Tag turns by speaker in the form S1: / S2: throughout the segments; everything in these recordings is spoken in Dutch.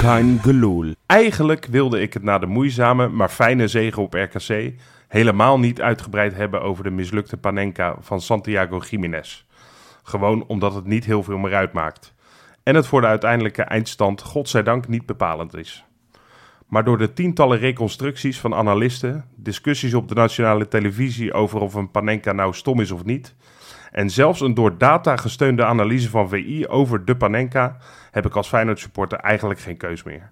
S1: Kein Geloel. Eigenlijk wilde ik het na de moeizame, maar fijne zege op RKC helemaal niet uitgebreid hebben over de mislukte Panenka van Santiago Jiménez. Gewoon omdat het niet heel veel meer uitmaakt. En het voor de uiteindelijke eindstand godzijdank niet bepalend is. Maar door de tientallen reconstructies van analisten, discussies op de nationale televisie over of een Panenka nou stom is of niet, en zelfs een door data gesteunde analyse van VI over de Panenka heb ik als Feyenoord supporter eigenlijk geen keus meer.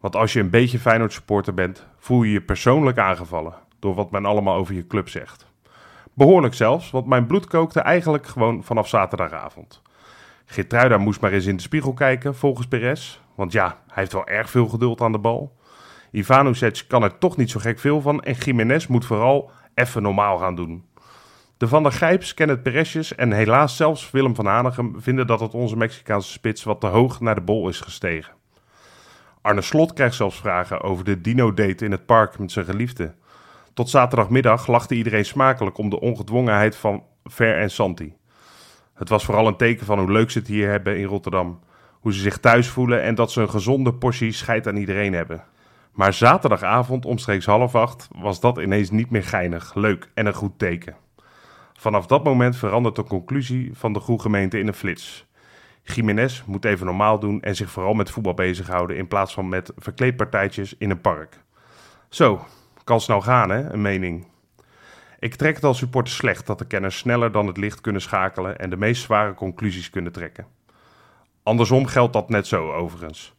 S1: Want als je een beetje Feyenoord supporter bent, voel je je persoonlijk aangevallen door wat men allemaal over je club zegt. Behoorlijk zelfs, want mijn bloed kookte eigenlijk gewoon vanaf zaterdagavond. Gertruida moest maar eens in de spiegel kijken, volgens Perez. Want ja, hij heeft wel erg veel geduld aan de bal. Ivanovic kan er toch niet zo gek veel van en Jiménez moet vooral even normaal gaan doen. De Van der Gijps, Kenneth Peresjes en helaas zelfs Willem van Hanegem vinden dat het onze Mexicaanse spits wat te hoog naar de bol is gestegen. Arne Slot krijgt zelfs vragen over de dino-date in het park met zijn geliefde. Tot zaterdagmiddag lachte iedereen smakelijk om de ongedwongenheid van Ver en Santi. Het was vooral een teken van hoe leuk ze het hier hebben in Rotterdam. Hoe ze zich thuis voelen en dat ze een gezonde portie scheid aan iedereen hebben. Maar zaterdagavond omstreeks half acht was dat ineens niet meer geinig, leuk en een goed teken. Vanaf dat moment verandert de conclusie van de groegemeente in een flits. Jiménez moet even normaal doen en zich vooral met voetbal bezighouden in plaats van met verkleedpartijtjes in een park. Zo, kan snel gaan hè, een mening. Ik trek het als supporter slecht dat de kenners sneller dan het licht kunnen schakelen en de meest zware conclusies kunnen trekken. Andersom geldt dat net zo overigens.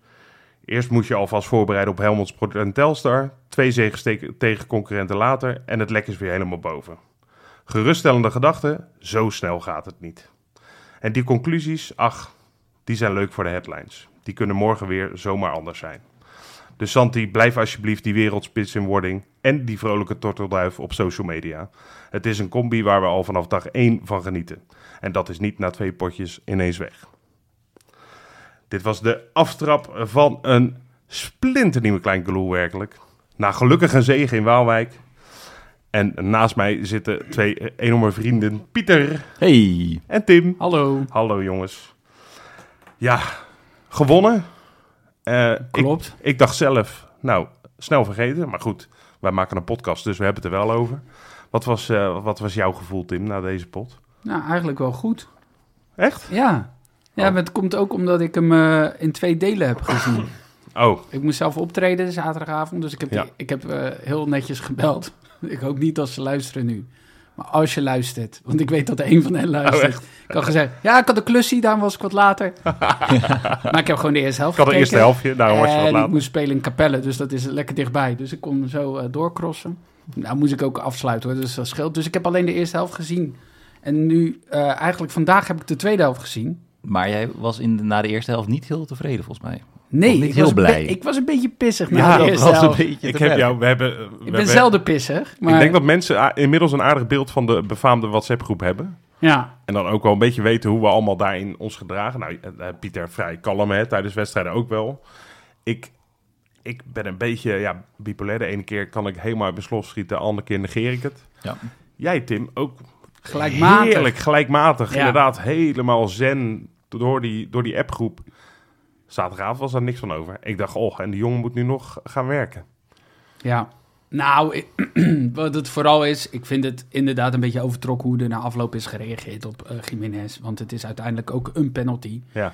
S1: Eerst moet je alvast voorbereiden op Helmonds en Telstar, twee zegens te- tegen concurrenten later en het lek is weer helemaal boven. Geruststellende gedachten, zo snel gaat het niet. En die conclusies, ach, die zijn leuk voor de headlines. Die kunnen morgen weer zomaar anders zijn. Dus Santi, blijf alsjeblieft die wereldspits in wording en die vrolijke tortelduif op social media. Het is een combi waar we al vanaf dag 1 van genieten. En dat is niet na twee potjes ineens weg. Dit was de aftrap van een splinternieuwe klein geloel werkelijk. Na gelukkig een zege in Waalwijk. En naast mij zitten twee eh, enorme vrienden, Pieter
S2: Hey.
S1: en Tim.
S3: Hallo.
S1: Hallo jongens. Ja, gewonnen. Eh, ik-
S3: Klopt.
S1: Ik, dacht zelf, nou, snel vergeten. Maar goed, wij maken een podcast, dus we hebben het er wel over. Wat was, eh, wat was jouw gevoel, Tim, na deze pot?
S3: Nou, eigenlijk wel goed.
S1: Echt?
S3: Ja. Ja,
S1: Oh.
S3: maar het komt ook omdat ik hem eh, in twee delen heb gezien.
S1: Oh,
S3: ik moest zelf optreden zaterdagavond, dus ik heb,
S1: Ja.
S3: ik heb eh, heel netjes gebeld. ik hoop niet dat ze luisteren nu. Maar als je luistert, want ik weet dat er een van hen
S1: Oh,
S3: luistert. ik had gezegd, ja, ik had een klusje, daarom was ik wat later. maar ik heb gewoon de eerste helft
S1: ik had de
S3: gekeken.
S1: eerste helftje, daarom was je wat
S3: en eh, ik
S1: laat.
S3: moest spelen in Capelle, dus dat is lekker dichtbij. Dus ik kon zo eh, doorcrossen. Nou moest ik ook afsluiten, hoor, dus dat scheelt. Dus ik heb alleen de eerste helft gezien. En nu, eh, eigenlijk vandaag heb ik de tweede helft gezien.
S2: Maar jij was in de- na de eerste helft niet heel tevreden, volgens mij.
S3: Nee,
S2: niet
S3: ik,
S2: heel
S3: was een be-
S2: blij.
S3: ik was een beetje pissig na
S1: Ja,
S3: de
S1: dat
S3: eerste
S2: was een
S3: helft.
S2: beetje
S1: Ik
S2: te
S1: heb
S2: ver.
S1: jou, we hebben... eh, we
S3: Ik ben
S1: hebben-
S3: zelden pissig, maar
S1: Ik denk dat mensen ah, inmiddels een aardig beeld van de befaamde WhatsApp-groep hebben.
S3: ja,
S1: En dan ook wel een beetje weten hoe we allemaal daarin ons gedragen. Nou, eh, eh, Pieter vrij kalm hè, tijdens wedstrijden ook wel. Ik, ik ben een beetje ja, bipolair. De ene keer kan ik helemaal uit mijn slof schieten, de andere keer negeer ik het.
S2: Ja.
S1: Jij Tim, ook
S3: gelijkmatig.
S1: heerlijk gelijkmatig.
S3: Ja.
S1: Inderdaad, helemaal zen door die, door die appgroep. Zaterdagavond was daar niks van over. Ik dacht, oh, en die jongen moet nu nog gaan werken.
S3: Ja. Nou, ik- wat het vooral is, ik vind het inderdaad een beetje overtrokken hoe er na afloop is gereageerd op eh Jiménez. Want het is uiteindelijk ook een penalty.
S1: Ja,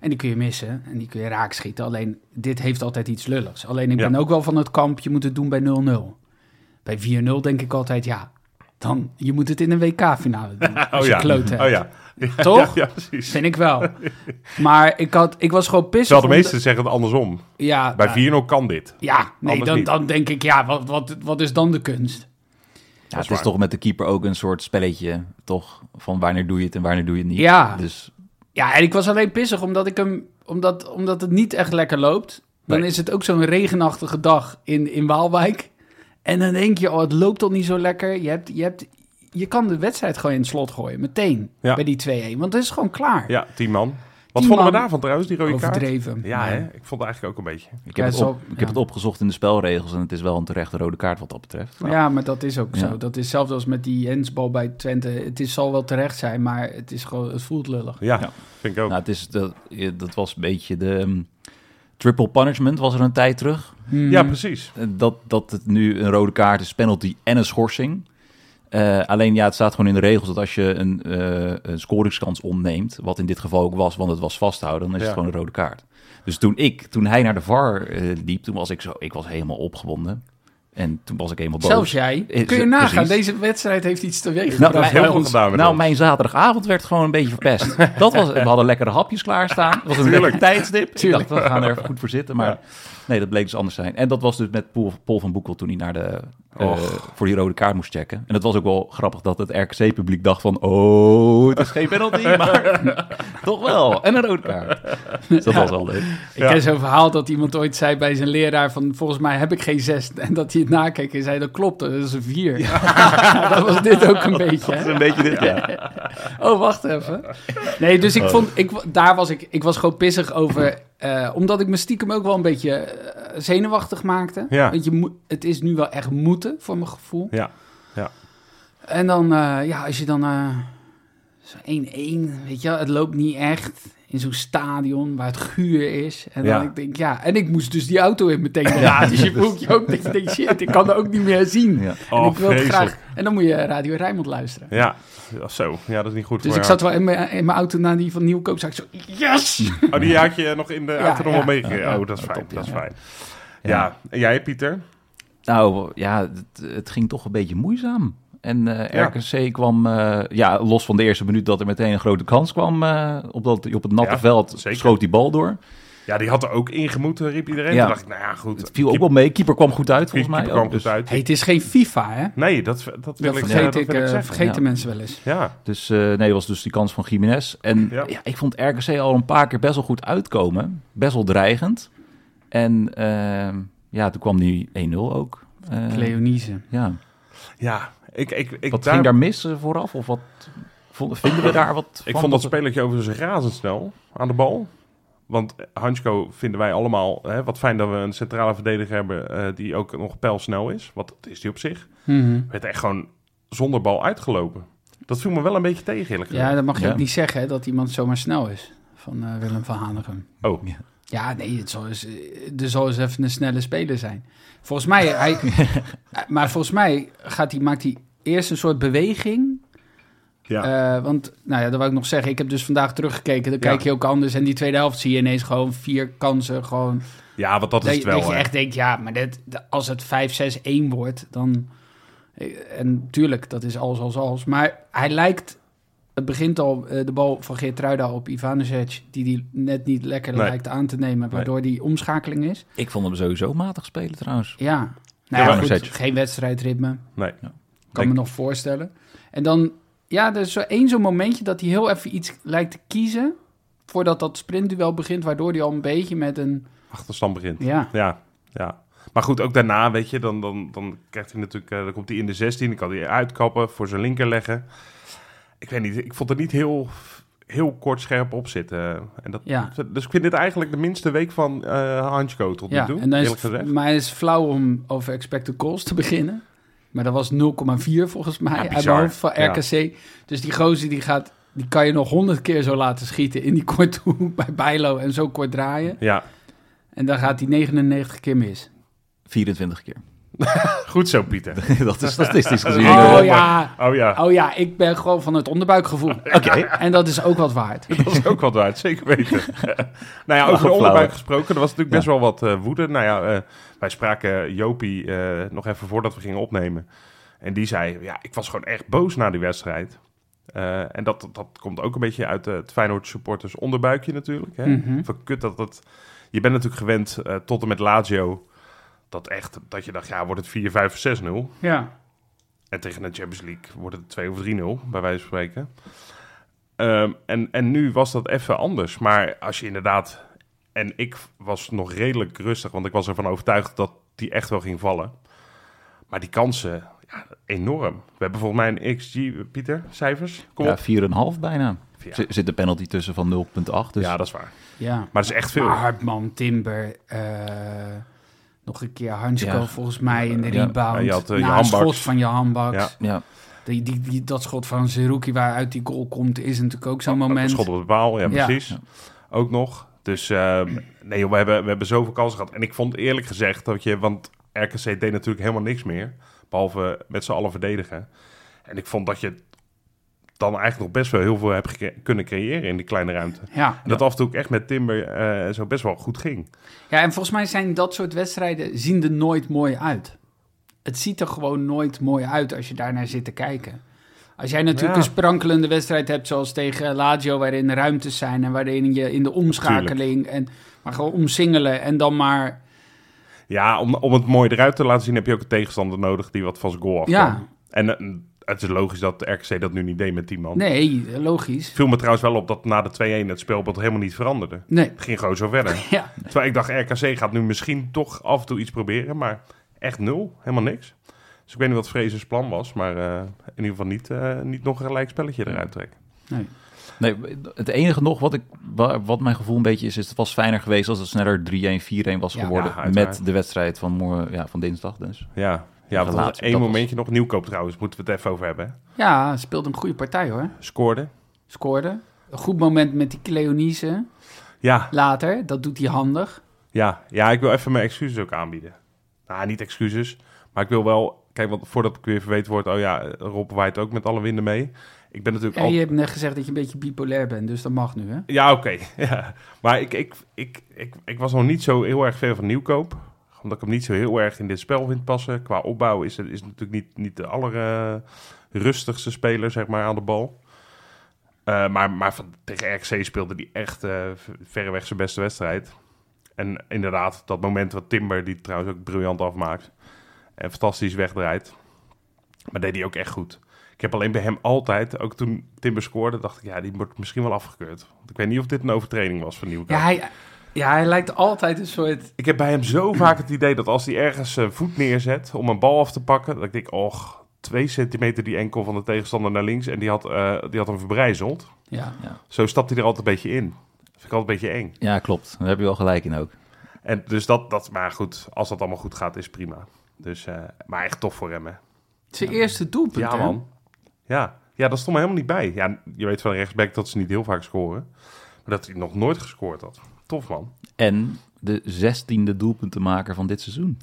S3: En die kun je missen en die kun je raak schieten. Alleen, dit heeft altijd iets lulligs. Alleen, ik
S1: Ja.
S3: ben ook wel van het kamp, je moet het doen bij 0-0. Bij 4-0 denk ik altijd, ja, dan, je moet het in een WK-finale doen. als je
S1: ja.
S3: kloot hebt.
S1: Oh ja.
S3: Toch?
S1: Ja, ja, precies.
S3: Vind ik wel. Maar ik, had, ik was gewoon pissig.
S1: Terwijl de
S3: omdat-
S1: meesten zeggen het andersom.
S3: ja, nou,
S1: Bij 4-0 kan dit.
S3: Ja, nee,
S1: Anders
S3: dan,
S1: niet.
S3: dan denk ik, ja, wat, wat, wat is dan de kunst?
S2: Ja,
S1: is
S2: het is
S1: waar.
S2: toch met de keeper ook een soort spelletje, toch? Van wanneer doe je het en wanneer doe je het niet.
S3: Ja.
S2: Dus
S3: Ja, en ik was alleen pissig omdat, ik hem, omdat, omdat het niet echt lekker loopt. Dan
S1: Nee.
S3: is het ook zo'n regenachtige dag in, in Waalwijk. En dan denk je, oh, het loopt toch niet zo lekker. Je, hebt, je, hebt, je kan de wedstrijd gewoon in het slot gooien, meteen,
S1: Ja.
S3: bij die 2-1. Want het is gewoon klaar.
S1: Ja, tien man. Wat
S3: Tien
S1: vonden we
S3: man.
S1: daarvan trouwens, die rode kaart?
S3: Overdreven.
S1: Ja, hè? ik vond het eigenlijk ook een beetje.
S2: Ik
S3: Ja,
S2: heb, het,
S3: zo-
S2: op, ik
S3: ja.
S2: heb het opgezocht in de spelregels en het is wel een terechte rode kaart wat dat betreft.
S1: Nou.
S3: Ja, maar dat is ook
S2: Ja.
S3: zo. Dat is zelfs als met die hensbal bij Twente. Het is, zal wel terecht zijn, maar het, is gewoon, het voelt lullig.
S1: Ja,
S2: Ja.
S1: vind ik ook.
S2: Nou, het is, dat, je- dat was een beetje de mm, triple punishment was er een tijd terug.
S3: mm.
S1: ja, precies.
S2: Eh, Dat, dat het nu een rode kaart is, penalty en een schorsing. Eh, alleen ja, het staat gewoon in de regels dat als je een, eh, een scoringskans ontneemt, wat in dit geval ook was, want het was vasthouden, dan is
S1: Ja.
S2: het gewoon een rode kaart. Dus toen ik, toen hij naar de VAR eh, liep, toen was ik zo, ik was helemaal opgewonden. En toen was ik helemaal boos.
S3: Zelfs jij.
S2: Eh,
S3: Kun je
S2: ze-
S3: nagaan,
S2: precies.
S3: deze wedstrijd heeft iets teweeg
S1: Dat
S2: Nou,
S1: is
S2: mijn-
S3: gebracht.
S1: heel
S3: bij
S1: veel
S3: ons.
S1: gedaan met
S2: Nou,
S1: ons.
S2: mijn zaterdagavond werd gewoon een beetje verpest. Dat was, we hadden lekkere hapjes klaarstaan. Het was een lekker tijdstip.
S3: Tuurlijk.
S2: Ik dacht, we gaan er even goed voor zitten. Maar
S1: Ja.
S2: nee, dat bleek dus anders zijn. En dat was dus met Paul, Paul van Boekel toen hij naar de, eh,
S1: Och.
S2: voor die rode kaart moest checken. En dat was ook wel grappig dat het RKC-publiek dacht van... Oh, het is geen penalty, maar toch wel. En een rode kaart. Dus dat was wel leuk.
S3: Ik ken zo'n verhaal dat iemand ooit zei bij zijn leraar van... volgens mij heb ik geen zes. En dat hij het nakeek en zei, dat klopt, dat is een vier. dat was dit ook een beetje.
S2: Dat
S3: hè?
S2: is een beetje dit, ja.
S3: Oh, wacht even. Nee, dus ik vond, ik, daar was ik, ik was gewoon pissig over. eh, omdat ik me stiekem ook wel een beetje eh, zenuwachtig maakte.
S1: Ja.
S3: Want je moet, het is nu wel echt moeten, voor mijn gevoel.
S1: Ja.
S3: En dan, eh, ja, als je dan eh, zo 1-1, weet je wel, het loopt niet echt. In zo'n stadion waar het guur is. En dan
S1: Ja.
S3: ik denk ja, en ik moest dus die auto in meteen laten. Dus je voelt je ook, dat je denkt, shit, ik kan er ook niet meer zien.
S2: Ja.
S3: en
S1: Oh,
S3: ik wil het
S1: vreselijk.
S3: graag. En dan moet je Radio Rijnmond luisteren.
S1: Ja. Ja, zo. Ja, dat is niet goed.
S3: Dus
S1: voor
S3: ik
S1: jou.
S3: zat wel in mijn, in mijn auto na die van Nieuwkoop. Zag ik zo, yes!
S1: Oh, die had je nog in de
S3: Ja,
S1: auto nog
S3: ja.
S1: wel meegekregen.
S3: Ja.
S1: Oh, dat is fijn.
S2: Top, ja.
S1: dat is fijn. Ja. En jij, Pieter?
S2: Nou ja, het, het ging toch een beetje moeizaam. En eh,
S1: Ja.
S2: RKC kwam, eh, ja, los van de eerste minuut dat er meteen een grote kans kwam. eh, op, dat, op het natte
S1: Ja,
S2: veld
S1: zeker.
S2: schoot die bal door.
S1: Ja, die had er ook ingemoeten, riep iedereen.
S2: Ja.
S1: Toen dacht ik, nou ja, goed.
S2: Het viel ook wel mee. Keeper kwam goed uit, volgens mij.
S1: Keeper kwam
S2: ook. Dus,
S1: goed uit.
S3: Hey, het is geen FIFA, hè?
S1: Nee, dat, dat wil
S3: Dat
S1: ik, eh,
S3: vergeet,
S1: dat
S3: ik,
S1: wil ik
S3: eh,
S1: zeggen.
S3: vergeten
S2: Ja.
S3: mensen wel eens.
S1: Ja,
S2: dus eh, nee, was dus die kans van Jiménez. En
S1: Ja.
S2: ja. ik vond RKC al een paar keer best wel goed uitkomen. Best wel dreigend. En eh, ja, toen kwam die 1-0 ook. Eh,
S3: Leonise.
S2: ja.
S1: ja. Ik, ik, ik,
S2: Wat
S1: daar-
S2: ging daar mis eh, vooraf? Of wat vonden- vinden we daar wat
S1: ik
S2: van?
S1: vond dat spelertje overigens razendsnel aan de bal. Want Hansko vinden wij allemaal... Hè, wat fijn dat we een centrale verdediger hebben eh, die ook nog pijlsnel is. Want dat is die op zich.
S3: Mhm.
S1: Werd echt gewoon zonder bal uitgelopen. Dat viel me wel een beetje tegen, eerlijk gezegd.
S3: Ja, dat mag je
S2: Ja.
S3: ook niet zeggen, hè, dat iemand zomaar snel is. Van eh, Willem van Hanegem.
S1: Oh,
S2: Ja.
S3: Ja, nee, het zal eens, eh, er zal eens even een snelle speler zijn. Volgens mij, hij, eh, maar volgens mij gaat hij, maakt hij eerst een soort beweging.
S1: ja.
S3: Eh, want, nou ja, dat wou ik nog zeggen. Ik heb dus vandaag teruggekeken. Dan
S1: Ja.
S3: kijk je ook anders. En die tweede helft zie je ineens gewoon vier kansen. Gewoon
S1: ja, want dat is
S3: Dat,
S1: het
S3: je- dat
S1: wel.
S3: je
S1: hè.
S3: echt denkt, ja, maar dit, d- als het 5-6-1 wordt, dan... En tuurlijk, dat is alles als als. Maar hij lijkt... Het begint al eh, de bal van Geertruida op Ivanovic... die die net niet lekker
S1: Nee.
S3: lijkt aan te nemen... waardoor die omschakeling is.
S2: Ik vond hem sowieso matig spelen trouwens.
S3: Ja,
S1: Ja,
S3: nou ja,
S1: maar-
S3: goed, geen wedstrijdritme.
S1: Nee.
S3: Kan me nog voorstellen. En dan, ja, er is zo één zo'n momentje dat hij heel even iets lijkt te kiezen... voordat dat sprintduel begint... waardoor hij al een beetje met een...
S1: Achterstand begint.
S3: Ja,
S1: Ja, ja. Maar goed, ook daarna, weet je, dan, dan, dan krijgt hij natuurlijk, eh, dan komt hij in de 16, dan kan hij uitkappen, voor zijn linker leggen. Ik weet niet, ik vond het niet heel, heel kort scherp op zitten. En dat,
S3: Ja.
S1: Dus ik vind dit eigenlijk de minste week van eh Hansko tot nu
S3: Ja,
S1: toe,
S3: en dan is
S1: eerlijk
S3: het,
S1: gezegd.
S3: maar het is flauw om over expected goals te beginnen. Maar dat was 0,4 volgens mij uit mijn
S1: bizar.
S3: hoofd van
S1: Ja.
S3: RKC. Dus die gozer die gaat, die kan je nog honderd keer zo laten schieten in die korte hoek bij Bijlo en zo kort draaien.
S1: Ja,
S3: En dan gaat hij 99 keer mis.
S2: 24 keer.
S1: goed zo, Pieter.
S2: dat is statistisch gezien. eh,
S3: Oh
S1: maar-
S3: ja,
S1: Oh ja,
S3: oh ja, ik ben gewoon van het onderbuikgevoel. Oké. En dat is ook wat waard.
S1: dat is ook wat waard, zeker weten. nou ja, over de
S2: Flauw,
S1: onderbuik
S2: hè?
S1: gesproken, er was natuurlijk best wel wat eh, woede. Nou ja, eh, wij spraken Jopie eh, nog even voordat we gingen opnemen. En die zei, ja, ik was gewoon echt boos na die wedstrijd. Eh, en dat, dat komt ook een beetje uit eh, het Feyenoord supporters onderbuikje natuurlijk. Hè?
S3: Mhm.
S1: Van kut dat dat... Je bent natuurlijk gewend eh, tot en met Lazio... Dat echt, dat je dacht, ja, wordt het 4, 5 of 6-0.
S3: Ja.
S1: En tegen de Champions League wordt het 2 of 3-0, bij wijze van spreken. Eh, Ehm, en, en nu was dat even anders. Maar als je inderdaad. En ik was nog redelijk rustig, want ik was ervan overtuigd dat die echt wel ging vallen. Maar die kansen, ja, enorm. We hebben volgens mij een XG, Pieter, cijfers. Kom
S2: Ja,
S1: op.
S2: 4,5 bijna.
S1: Ja.
S2: Er zit een penalty tussen van 0,8. Dus
S1: Ja, dat is waar.
S3: Ja.
S1: Maar dat is echt veel.
S3: Maar Hartman, Timber, eh, nog een keer Hansko
S2: Ja.
S3: volgens mij in de
S2: Ja,
S3: rebound.
S1: je had, eh,
S3: Na
S1: je
S3: een
S1: handbaks.
S3: schot van je handbaks.
S1: Ja.
S2: ja.
S3: Die, die, die, dat schot van Zerouki waaruit die goal komt is natuurlijk ook zo'n
S1: Een
S3: moment.
S1: Schot op de paal, ja,
S3: Ja.
S1: precies. Ook nog. Dus ehm, nee, joh, we, hebben, we hebben zoveel kansen gehad. En ik vond eerlijk gezegd dat je, want RKC deed natuurlijk helemaal niks meer. Behalve met z'n allen verdedigen. En ik vond dat je dan eigenlijk nog best wel heel veel hebt gecre- kunnen creëren in die kleine ruimte. En
S3: Ja.
S1: dat af en toe ook echt met Timber eh, zo best wel goed ging.
S3: ja, en volgens mij zijn dat soort wedstrijden zien er nooit mooi uit. Het ziet er gewoon nooit mooi uit als je daarnaar zit te kijken. Als jij natuurlijk
S1: Ja.
S3: een sprankelende wedstrijd hebt, zoals tegen Lazio, waarin de ruimtes zijn en waarin je in de omschakeling en maar gewoon omsingelen en dan maar
S1: Ja, om, om het mooi eruit te laten zien heb je ook een tegenstander nodig die wat van zijn goal afkwam.
S3: Ja.
S1: En eh, het is logisch dat RKC dat nu niet deed met die man.
S3: Nee, logisch.
S1: Viel me trouwens wel op dat na de 2-1 het speelbeeld helemaal niet veranderde.
S3: Nee.
S1: Het ging gewoon zo verder.
S3: Ja,
S1: Terwijl ik dacht, RKC gaat nu misschien toch af en toe iets proberen, maar echt nul, helemaal niks. Dus ik weet niet wat Vreze's plan was, maar eh, in ieder geval niet, eh, niet nog een gelijk spelletje eruit trekken.
S3: nee.
S2: Nee, het enige nog wat, ik, wa- wat mijn gevoel een beetje is, is het was fijner geweest als het sneller 3-1, 4-1 was
S3: Ja.
S2: geworden
S1: Ja, uiteraard.
S2: met de wedstrijd van, morgen, ja, van dinsdag dus.
S1: Ja, ja want
S2: laat,
S1: dat was één
S2: dat was-
S1: momentje nog. Nieuwkoop trouwens, moeten we het even over hebben. hè.
S3: ja speelde een goede partij hoor.
S1: Scoorde.
S3: Scoorde. Een goed moment met die Cleonise
S1: Ja,
S3: later. Dat doet hij handig.
S1: ja, ja, ik wil even mijn excuses ook aanbieden. Nou, niet excuses, maar ik wil wel... Kijk, want voordat ik weer verweten word, oh ja, Rob waait ook met alle winden mee. Ik ben natuurlijk
S3: En
S1: al...
S3: je hebt net gezegd dat je een beetje bipolair bent, dus dat mag nu hè.
S1: Ja, oké. Ja. Maar ik, ik, ik, ik, ik was nog niet zo heel erg ver van Nieuwkoop. Omdat ik hem niet zo heel erg in dit spel vind passen. Qua opbouw is het is het natuurlijk niet, niet de allerrustigste speler zeg maar, aan de bal. Eh, maar maar van, tegen RKC speelde hij echt eh, ver- verreweg zijn beste wedstrijd. En inderdaad, dat moment wat Timber, die het trouwens ook briljant afmaakt. En fantastisch wegdraait. Maar deed hij ook echt goed. Ik heb alleen bij hem altijd, ook toen Timber scoorde, dacht ik, ja, die wordt misschien wel afgekeurd. Want ik weet niet of dit een overtreding was van Nieuwkoop.
S3: Ja, hij, ja, hij lijkt altijd een soort...
S1: Ik heb bij hem zo vaak het idee dat als hij ergens zijn voet neerzet om een bal af te pakken, dat ik denk, och, twee centimeter die enkel van de tegenstander naar links en die had, eh, die had hem verbrijzeld.
S3: Ja,
S1: Zo stapt hij er altijd een beetje in. Dat vind ik altijd een beetje eng.
S2: Ja, klopt. Daar heb je wel gelijk in ook.
S1: En dus dat, dat, maar goed, als dat allemaal goed gaat, is prima. Dus, eh, maar echt tof voor hem, hè.
S3: zijn eerste doelpunt
S1: Ja,
S3: hè?
S1: man. Ja. ja, dat stond me helemaal niet bij. Ja, je weet van de rechtsback dat ze niet heel vaak scoren. Maar dat hij nog nooit gescoord had. Tof, man.
S2: En de zestiende doelpuntenmaker van dit seizoen.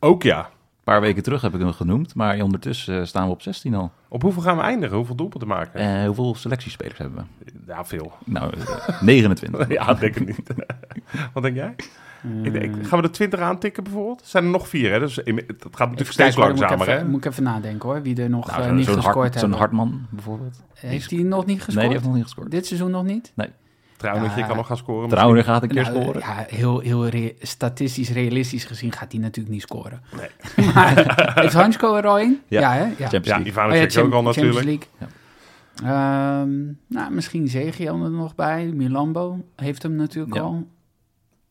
S1: Ook ja.
S2: Een paar weken terug heb ik hem genoemd, maar ondertussen eh, staan we op 16 al.
S1: Op hoeveel gaan we eindigen? Hoeveel doelpunten maken?
S2: Eh, hoeveel selectiespelers hebben we?
S1: Ja, veel.
S2: Nou, eh, 29.
S1: Ja, ik denk ik niet. Wat denk jij? Ik
S3: Eh.
S1: denk, gaan we er 20 aantikken bijvoorbeeld? Zijn er nog vier, hè? Dus in- het gaat natuurlijk
S3: Even
S1: steeds
S3: kijken, hoor, moet ik
S1: langzamer, hè?
S3: even- Moet ik even nadenken hoor, wie er nog
S2: Nou,
S3: eh,
S2: zo'n-
S3: niet
S2: zo'n
S3: gescoord
S2: hart, zo'n
S3: hebben.
S2: Hartman bijvoorbeeld.
S3: Heeft hij nog niet gescoord?
S2: Nee, die heeft nog niet gescoord.
S3: Dit seizoen nog niet?
S1: Trouwens, je
S3: Ja.
S1: kan nog gaan scoren.
S2: Trouwen gaat een keer
S3: Nou,
S2: scoren.
S3: Ja, heel, heel re- statistisch realistisch gezien gaat hij natuurlijk niet scoren. maar heeft Hansko er al in?
S2: Ja.
S3: hè? Ja.
S2: Champions
S1: Ja,
S2: League.
S3: Oh ja,
S1: Ivanovic
S3: Cham-
S1: ook al natuurlijk.
S3: Champions League. Ehm, nou, misschien Zegiel er nog bij. Milambo heeft hem natuurlijk
S2: Ja.
S3: al.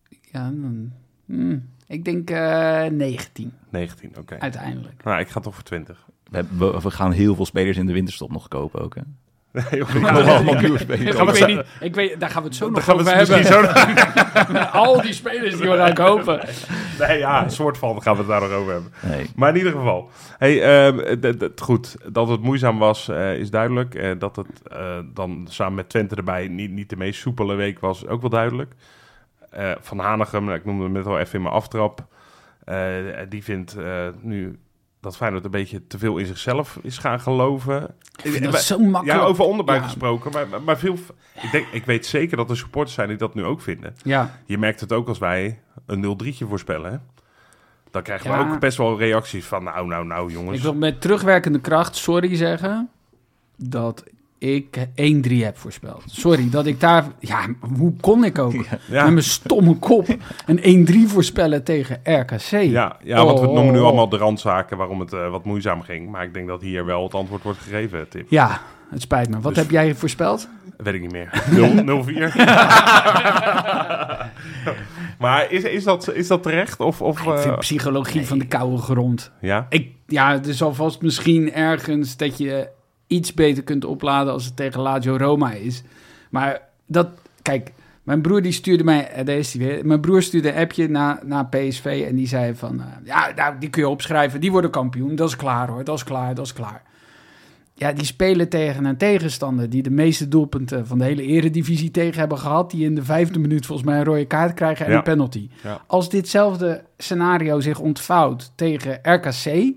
S3: Ja, dan, hmm, ik denk eh 19
S1: 19, oké.
S3: uiteindelijk.
S1: Nou, ik ga toch voor 20.
S2: We, hebben- we, we gaan heel veel spelers in de winterstop nog kopen ook. Hè?
S1: Nee, joh,
S2: Nog
S1: ja,
S2: allemaal nieuwe spelers.
S3: ik, weet niet, ik weet, daar gaan we het zo
S1: Dan
S3: nog
S1: gaan
S3: over
S1: we het
S3: hebben.
S1: misschien zo...
S3: Al die spelers die we daar kopen.
S1: Nee, ja, een soort van gaan we het daar nog over hebben.
S2: Nee.
S1: Maar in ieder geval. Hey, ehm, d- d- goed, dat het moeizaam was, eh, is duidelijk. Eh, dat het eh, dan samen met Twente erbij niet, niet de meest soepele week was, is ook wel duidelijk. Eh, van Hanegem, nou, ik noemde hem net al even in mijn aftrap. eh, die vindt eh, nu dat Feyenoord een beetje te veel in zichzelf is gaan geloven.
S3: Ik vind dat
S1: Maar-
S3: zo makkelijk.
S1: Ja, over onderbuik
S3: Ja.
S1: gesproken. Maar, maar- maar veel, ik, denk, ik weet zeker dat er supporters zijn die dat nu ook vinden.
S3: Ja.
S1: Je merkt het ook als wij een 0-3'tje voorspellen. hè. Dan krijgen we
S3: Ja.
S1: ook best wel reacties van nou, nou, nou jongens.
S3: Ik wil met terugwerkende kracht sorry zeggen dat ik 1-3 heb voorspeld. Sorry dat ik daar... Ja, hoe kon ik ook
S1: Ja.
S3: met mijn stomme kop een 1-3 voorspellen tegen RKC?
S1: Ja, ja want we
S3: Oh.
S1: noemen nu allemaal de randzaken waarom het eh, wat moeizaam ging. Maar ik denk dat hier wel het antwoord wordt gegeven, Tim.
S3: Ja, het spijt me. Wat
S1: Dus-
S3: heb jij voorspeld?
S1: Weet ik niet meer. 0 04. maar is, is, dat, is dat terecht? Of, of,
S3: Nou, ik vind
S1: eh,
S3: psychologie van de koude grond.
S1: ja?
S3: Ik, ja, het is alvast misschien ergens dat je iets beter kunt opladen als het tegen Lazio Roma is. Maar dat, kijk, mijn broer die stuurde mij, eh, daar is hij weer. Mijn broer stuurde een appje naar na PSV en die zei van, eh, ja, nou, die kun je opschrijven, die worden kampioen. Dat is klaar hoor, dat is klaar, dat is klaar. Ja, die spelen tegen een tegenstander die de meeste doelpunten van de hele eredivisie tegen hebben gehad. Die in de vijfde minuut volgens mij een rode kaart krijgen en
S1: Ja.
S3: een penalty.
S1: Ja.
S3: Als ditzelfde scenario zich ontvouwt tegen RKC,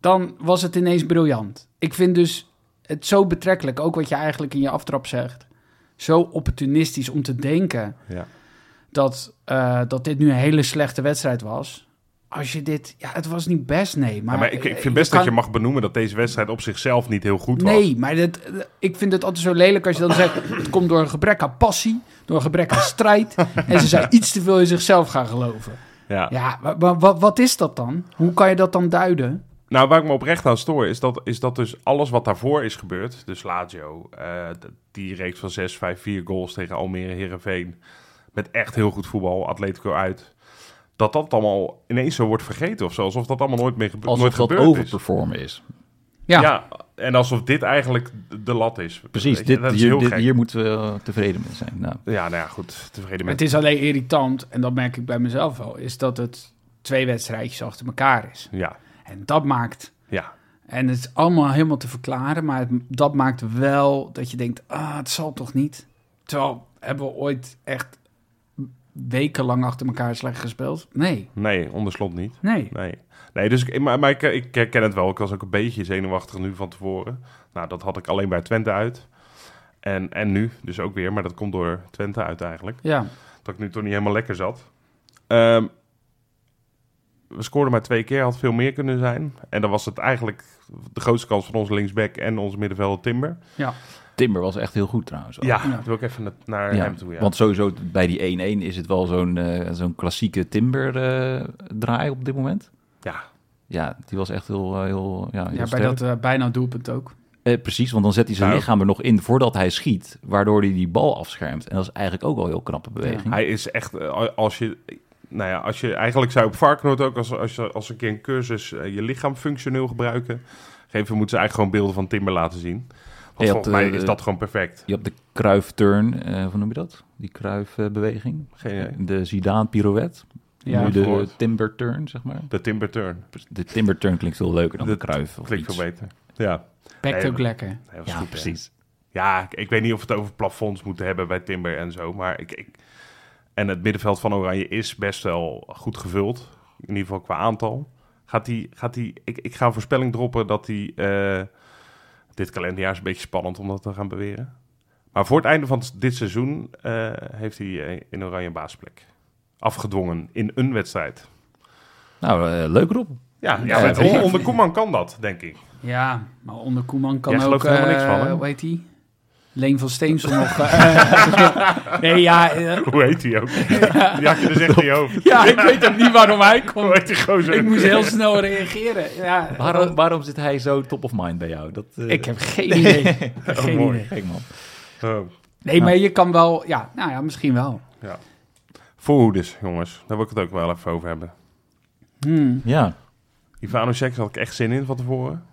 S3: dan was het ineens briljant. Ik vind dus het zo betrekkelijk, ook wat je eigenlijk in je aftrap zegt, zo opportunistisch om te denken
S1: Ja.
S3: dat, eh, dat dit nu een hele slechte wedstrijd was. Als je dit, ja, het was niet best, nee. Maar,
S1: Ja, maar ik, ik
S3: eh,
S1: vind best dat je
S3: kan-
S1: mag benoemen dat deze wedstrijd op zichzelf niet heel goed was.
S3: Nee, maar dat, ik vind het altijd zo lelijk als je dan zegt... het komt door een gebrek aan passie, door een gebrek aan strijd... en ze zijn iets te veel in zichzelf gaan geloven.
S1: Ja.
S3: Ja, maar, maar wat, wat is dat dan? Hoe kan je dat dan duiden?
S1: Nou, waar ik me oprecht aan stoor, is dat, is dat dus alles wat daarvoor is gebeurd. Dus Lazio, eh, d- die reeks van 6, 5, 4 goals tegen Almere, Herenveen. Met echt heel goed voetbal, Atletico uit. Dat dat allemaal ineens zo wordt vergeten of zo. Alsof dat allemaal nooit meer gebe- nooit
S2: Alsof dat
S1: gebeurd is.
S2: overperformen is.
S3: Ja,
S1: Ja. en alsof dit eigenlijk de lat is.
S2: Precies,
S1: Weet je,
S2: dit,
S1: dat is
S2: hier,
S1: heel
S2: dit,
S1: gek.
S2: hier moeten we eh, tevreden mee zijn. Nou,
S1: Ja, nou ja, goed, tevreden
S3: het
S1: met.
S3: is alleen irritant, en dat merk ik bij mezelf wel... is dat het twee wedstrijdjes achter elkaar is.
S1: Ja,
S3: En dat maakt...
S1: ja.
S3: En het is allemaal helemaal te verklaren, maar het, dat maakt wel dat je denkt... ah, het zal toch niet? Terwijl, hebben we ooit echt wekenlang achter elkaar slecht gespeeld? Nee,
S1: Nee, onderslot niet.
S3: nee.
S1: Nee. Nee, dus ik, maar, maar ik, ik herken het wel. Ik was ook een beetje zenuwachtig nu van tevoren. Nou, dat had ik alleen bij Twente uit. En, en nu dus ook weer, maar dat komt door Twente uit eigenlijk.
S3: Ja,
S1: Dat ik nu toch niet helemaal lekker zat. Ehm, we scoorden maar twee keer, had veel meer kunnen zijn. En dan was het eigenlijk de grootste kans van ons linksback en onze middenvelder Timber.
S3: ja.
S2: Timber was echt heel goed trouwens. ook.
S1: Ja,
S3: Ja.
S1: dat wil ik even na- naar
S2: Ja,
S1: hem toe. Ja.
S2: Want sowieso bij die 1-1 is het wel zo'n eh, zo'n klassieke Timber eh, draai op dit moment.
S1: ja.
S2: Ja, die was echt heel, eh, heel, ja, heel
S3: ja bij
S2: sterk.
S3: dat eh, bijna doelpunt ook.
S2: Eh, precies, want dan zet hij zijn
S1: Nou.
S2: lichaam er nog in voordat hij schiet, waardoor hij die bal afschermt. En dat is eigenlijk ook wel een heel knappe beweging.
S1: Hij is echt, eh, al- als je, nou ja, als je eigenlijk zou je op Varkenoord ook als, als, je- als een keer een cursus eh, je lichaam functioneel gebruiken. Geven moeten ze eigenlijk gewoon beelden van Timber laten zien.
S2: Je
S1: Want
S2: had,
S1: volgens mij
S2: eh,
S1: is dat gewoon perfect.
S2: Je hebt de kruifturn, eh hoe noem je dat? Die kruifbeweging.
S1: Geen idee.
S2: de Zidane pirouette.
S3: Ja.
S2: nu de
S1: gehoord.
S2: timber turn, zeg maar.
S1: De Timber Turn.
S2: De timber turn klinkt veel leuker dan de,
S1: De-
S2: kruif. Of
S1: Klinkt
S2: iets.
S1: veel beter. Ja,
S3: Pakt
S1: Nee,
S3: ook
S1: maar-
S3: lekker.
S1: Nee, was
S2: Ja,
S1: goed, hè?
S2: precies.
S1: Ja, ik, ik weet niet of we het over plafonds moeten hebben bij Timber en zo. Maar ik, ik, en het middenveld van Oranje is best wel goed gevuld. In ieder geval qua aantal. Gaat die, gaat die, ik, ik ga een voorspelling droppen dat die... eh, dit kalenderjaar is een beetje spannend om dat te gaan beweren. Maar voor het einde van dit seizoen eh, heeft hij eh, in Oranje een baasplek. Afgedwongen in een wedstrijd.
S2: Nou, eh, leuk Rob.
S1: Ja, ja,
S2: Ja,
S1: met-
S2: ja.
S1: onder Koeman kan dat, denk ik.
S3: Ja, maar onder Koeman kan
S1: Jij
S3: ook...
S1: gelooft er helemaal
S3: eh,
S1: niks van, hè?
S3: Hoe heet die? Leen van Steensel nog... eh, nee, ja, eh,
S1: Hoe heet hij ook? Die had je dus echt in je hoofd.
S3: ja, ik weet ook niet waarom hij
S1: Hoe
S3: komt.
S1: heet die gozer?
S3: Ik moest heel snel reageren. Ja,
S2: Waarom, waarom zit hij zo top of mind bij jou? Dat, eh,
S3: Ik heb geen idee. Ik heb geen
S1: mooi.
S3: idee.
S2: Gek man.
S1: Oh.
S3: Nee, maar je kan wel... Ja, nou ja, misschien wel.
S1: Voorhoeders, jongens. Daar wil ik het ook wel even over hebben.
S3: Hmm.
S2: Ja,
S1: Ivano Seks had ik echt zin in van tevoren.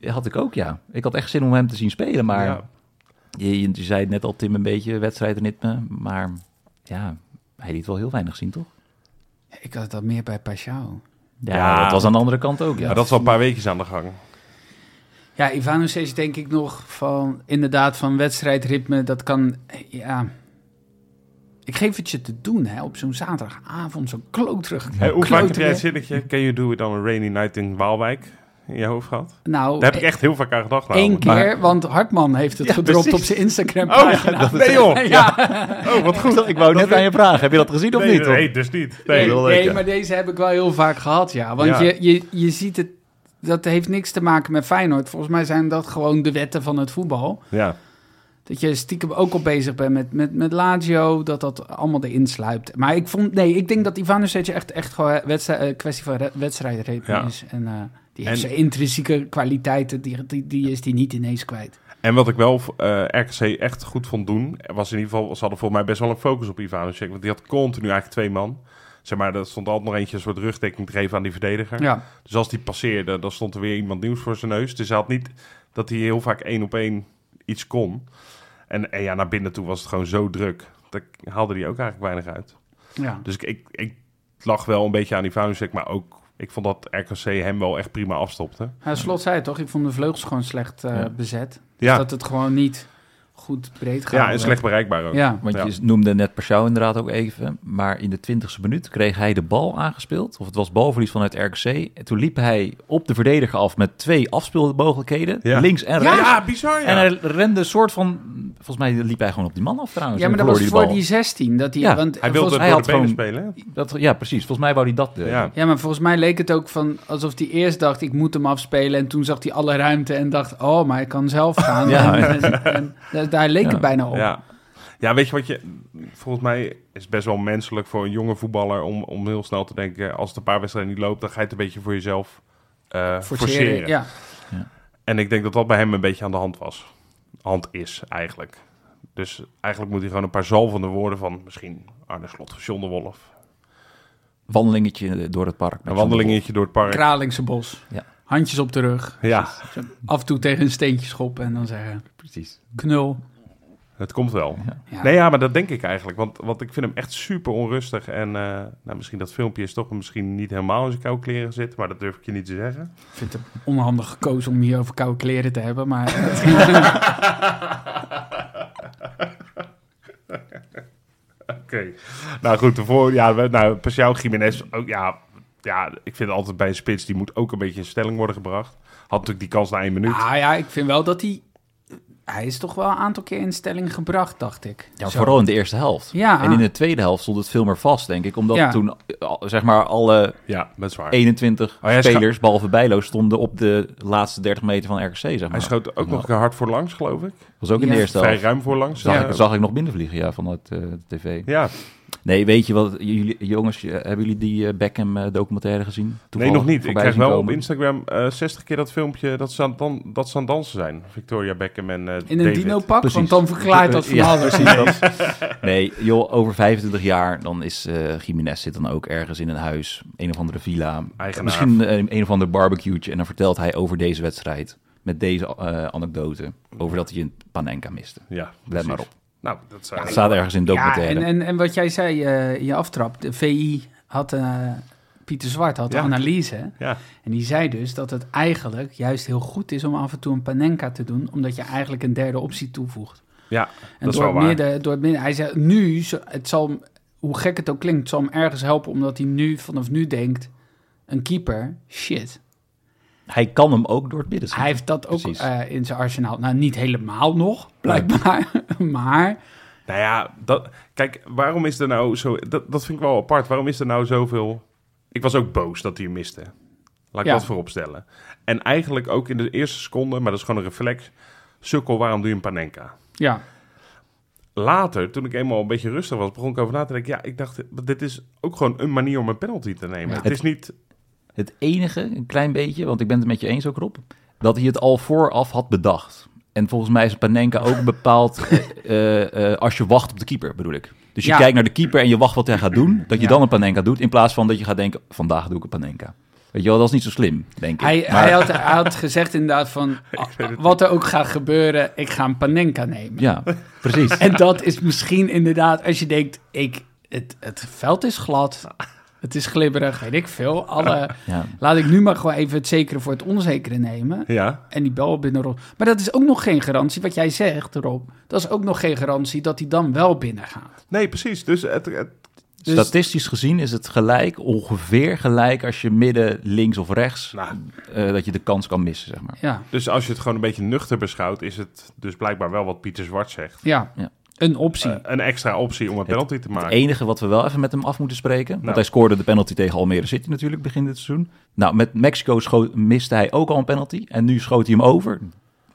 S2: had ik ook ja. Ik had echt zin om hem te zien spelen, maar
S1: Ja.
S2: je, je, je zei het net al Tim een beetje wedstrijdritme, maar ja, hij liet wel heel weinig zien toch?
S3: Ik had dat meer bij Pashao.
S2: Ja,
S1: Ja.
S2: dat was aan de andere kant ook ja.
S1: Maar dat is al een paar weekjes aan de gang.
S3: Ja, Ivanus is denk ik nog van inderdaad van wedstrijdritme. Dat kan, eh, ja. Ik geef het je te doen, hè, op zo'n zaterdagavond, zo'n kloterig.
S1: Hey, hoe vaak heb
S3: kloterig-
S1: jij het zinnetje... Can you do it on a rainy night in Waalwijk? In je hoofd gehad?
S3: Nou,
S1: Daar heb ik echt heel vaak aan gedacht.
S3: één
S1: namelijk.
S3: keer, want Hartman heeft het
S2: Ja,
S3: gedropt
S2: precies.
S3: op zijn Instagram
S1: Oh,
S3: pagina.
S1: ja, dat- nee joh.
S3: Ja.
S1: Oh, wat goed.
S2: Ik wou net
S1: wil-
S2: aan je vragen, heb je dat gezien of
S1: Nee,
S2: niet?
S1: nee, dus niet.
S3: Nee,
S1: Nee.
S2: heel leuk,
S3: nee,
S2: ja.
S3: maar deze heb ik wel heel vaak gehad, ja. Want
S1: Ja.
S3: Je, je, je ziet het dat heeft niks te maken met Feyenoord. Volgens mij zijn dat gewoon de wetten van het voetbal.
S1: Ja.
S3: Dat je stiekem ook al bezig bent met, met, met Lazio, dat dat allemaal erin sluipt. Maar ik vond, nee, ik denk dat Ivanovic echt, echt gewoon wedstrijd, eh, kwestie van re- wedstrijdritme
S1: Ja.
S3: is. En eh, die heeft
S1: En-
S3: zijn intrinsieke kwaliteiten, die, die, die is die niet ineens kwijt.
S1: En wat ik wel eh, RKC echt goed vond doen, was in ieder geval, ze hadden volgens mij best wel een focus op Ivanovic. Want die had continu eigenlijk twee man. Zeg maar, er stond altijd nog eentje een soort rugdekking te geven aan die verdediger.
S3: Ja,
S1: Dus als die passeerde, dan stond er weer iemand nieuws voor zijn neus. Dus hij had niet dat hij heel vaak één op één iets kon. En, en ja, naar binnen toe was het gewoon zo druk. Daar haalde hij ook eigenlijk weinig uit.
S3: ja.
S1: Dus ik, ik, ik lag wel een beetje aan Ivanovic, maar ook... Ik vond dat RKC hem wel echt prima afstopte.
S3: Ja, slot zei het toch, ik vond de vleugels gewoon slecht eh,
S2: Ja.
S3: bezet. Dus
S1: Ja,
S3: dat het gewoon niet goed breed gaat.
S1: ja en slecht bereikbaar ook.
S3: Ja,
S2: Want
S1: Ja.
S2: je noemde net Persjouw inderdaad ook even. Maar in de twintigste minuut kreeg hij de bal aangespeeld. Of het was balverlies vanuit RKC. En toen liep hij op de verdediger af met twee afspeelmogelijkheden.
S1: Ja.
S2: Links en
S1: Ja,
S2: rechts.
S1: bizar ja.
S2: En hij rende een soort van... Volgens mij liep hij gewoon op die man af trouwens.
S3: ja, maar
S2: En
S3: dat was
S2: verloor
S3: voor
S2: bal.
S3: die 16. Dat die,
S2: Oh, Ja,
S3: want
S1: Hij
S3: volgens
S1: wilde
S2: hij
S1: door
S2: had
S1: de benen
S2: gewoon-
S1: spelen.
S2: Dat, ja, precies. Volgens mij wou hij dat. eh,
S1: Ja.
S3: Ja, maar volgens mij leek het ook van alsof hij eerst dacht: ik moet hem afspelen. En toen zag hij alle ruimte en dacht: oh, maar ik kan zelf gaan.
S2: Ja.
S3: en, en- en da- daar leek
S2: Ja.
S3: het bijna op.
S1: Ja. ja, weet je wat je... Volgens mij is het best wel menselijk voor een jonge voetballer... om, om heel snel te denken... als het een paar wedstrijden niet loopt... dan ga je het een beetje voor jezelf eh
S3: Forceren,
S1: forceren.
S3: Ja.
S1: En ik denk dat dat bij hem een beetje aan de hand was. Hand is, eigenlijk. Dus eigenlijk moet hij gewoon een paar zalvende woorden van... misschien Arne Slot, John de Wolf.
S2: Wandelingetje door het park.
S1: Een wandelingetje door het park.
S3: Kralingse bos.
S2: Ja.
S3: Handjes op de rug.
S1: Ja,
S3: Af en toe tegen een steentje schoppen en dan zeggen:
S2: Precies.
S3: knul.
S1: het komt wel.
S3: Ja.
S1: Nee, ja, maar dat denk ik eigenlijk. Want, want ik vind hem echt super onrustig. En eh, nou, misschien dat filmpje is toch misschien niet helemaal in zijn koude kleren zit. Maar dat durf ik je niet te zeggen.
S3: Ik vind het onhandig gekozen om hier over koude kleren te hebben. Maar
S1: Oké. Nou goed, daarvoor, ja, we- nou, Pascal Jiménez, ook, ja, ja, ik vind altijd bij een spits, die moet ook een beetje in stelling worden gebracht. Had natuurlijk die kans na één minuut.
S3: ah, ja, ik vind wel dat hij. Hij is toch wel een aantal keer in stelling gebracht, dacht ik.
S2: Ja,
S3: Zo.
S2: vooral in de eerste helft.
S3: Ja.
S2: En in de tweede helft stond het veel meer vast, denk ik. Omdat
S3: Ja.
S2: toen, eh, al- zeg maar, alle
S1: ja, dat is waar.
S2: 21
S1: Oh, hij scha-
S2: spelers, behalve Bijlo, stonden op de laatste 30 meter van RKC, zeg maar.
S1: Hij schoot ook nog een keer hard voorlangs, geloof ik.
S2: was ook in de
S3: Ja.
S2: eerste
S1: Vrij
S2: helft.
S1: ruim voorlangs.
S2: Zag,
S1: Ja,
S2: ik, zag ik nog binnenvliegen, ja, vanuit eh, de tv.
S1: ja.
S2: Nee, weet je wat, jullie, jongens, eh, hebben jullie die eh, Beckham eh, documentaire gezien?
S1: nee,
S2: Toevallig
S1: nog niet. Ik
S2: voorbij
S1: krijg
S2: zien
S1: wel op
S2: komen?
S1: Instagram eh, 60 keer dat filmpje dat ze aan, het dan, dat ze aan het dansen zijn. Victoria Beckham en eh
S3: In een
S1: David.
S3: dino-pak,
S2: Precies.
S3: want dan verklaart dat
S2: Ja.
S3: verhaal dus weer zien.
S2: Nee, joh, over 25 jaar, dan is eh Jiménez zit dan ook ergens in een huis, een of andere villa.
S1: Eigenaar.
S2: Misschien eh, een of ander barbecue. En dan vertelt hij over deze wedstrijd, met deze eh, anekdote, over dat hij een panenka miste.
S1: Ja,
S2: Let
S1: precies.
S2: maar op.
S1: Nou, dat zijn...
S2: Het staat ergens in de
S3: Ja,
S2: documentaire.
S3: en, en, en wat jij zei eh, in je aftrap, de VI had, eh, Pieter Zwart had
S1: Ja.
S3: een analyse. hè?
S1: Ja,
S3: En die zei dus dat het eigenlijk juist heel goed is om af en toe een panenka te doen, omdat je eigenlijk een derde optie toevoegt.
S1: ja
S3: En
S1: dat is
S3: door,
S1: wel
S3: het
S1: waar.
S3: midden, door het midden, hij zei nu, zo- het zal, hem- hoe gek het ook klinkt, het zal hem ergens helpen, omdat hij nu vanaf nu denkt, een keeper, shit.
S2: Hij kan hem ook door het midden schieten.
S3: Hij heeft dat ook
S2: Precies.
S3: eh, in zijn arsenaal. Nou, niet helemaal nog, blijkbaar, maar...
S1: Nou ja, dat, kijk, waarom is er nou zo... Dat, dat vind ik wel apart. Waarom is er nou zoveel... Ik was ook boos dat hij hem miste. Laat ik
S3: Ja.
S1: dat voorop stellen. En eigenlijk ook in de eerste seconde, maar dat is gewoon een reflex... Sukkel, waarom doe je een panenka?
S3: Ja,
S1: Later, toen ik eenmaal een beetje rustig was, begon ik over na te denken... Ja, ik dacht, dit is ook gewoon een manier om een penalty te nemen.
S3: Ja.
S1: Het is niet...
S2: Het enige, een klein beetje, want ik ben het met je eens ook, Rob, dat hij het al vooraf had bedacht. En volgens mij is Panenka ook bepaald eh, eh, eh, als je wacht op de keeper, bedoel ik. Dus je
S3: Ja.
S2: kijkt naar de keeper en je wacht wat hij gaat doen, dat je
S3: Ja.
S2: dan een Panenka doet, in plaats van dat je gaat denken, vandaag doe ik een Panenka. Weet je wel, dat is niet zo slim, denk ik.
S3: Hij,
S2: Maar-
S3: hij, had, hij had gezegd inderdaad van, wat er ook gaat gebeuren, ik ga een panenka nemen.
S2: Ja, precies.
S3: En dat is misschien inderdaad, als je denkt, ik, het, het veld is glad, het is glibberig, weet ik veel. Alle,
S2: Ja.
S3: Laat ik nu maar gewoon even het zekere voor het onzekere nemen.
S1: Ja,
S3: En die bal binnen Rob. Maar dat is ook nog geen garantie, wat jij zegt Rob, dat is ook nog geen garantie dat hij dan wel binnen gaat.
S1: nee, precies. Dus het, het-
S3: Dus-
S2: Statistisch gezien is het gelijk, ongeveer gelijk, als je midden, links of rechts,
S1: nou,
S2: eh, dat je de kans kan missen, zeg maar.
S3: Ja,
S1: dus als je het gewoon een beetje nuchter beschouwt... is het dus blijkbaar wel wat Pieter Zwart zegt.
S3: ja.
S2: Ja.
S3: een optie.
S1: eh, een extra optie om een penalty te maken.
S2: Het enige wat we wel even met hem af moeten spreken. Want
S1: Nou.
S2: hij scoorde de penalty tegen Almere City natuurlijk begin dit seizoen. Nou, met Mexico schoot, miste hij ook al een penalty. En nu schoot hij hem over.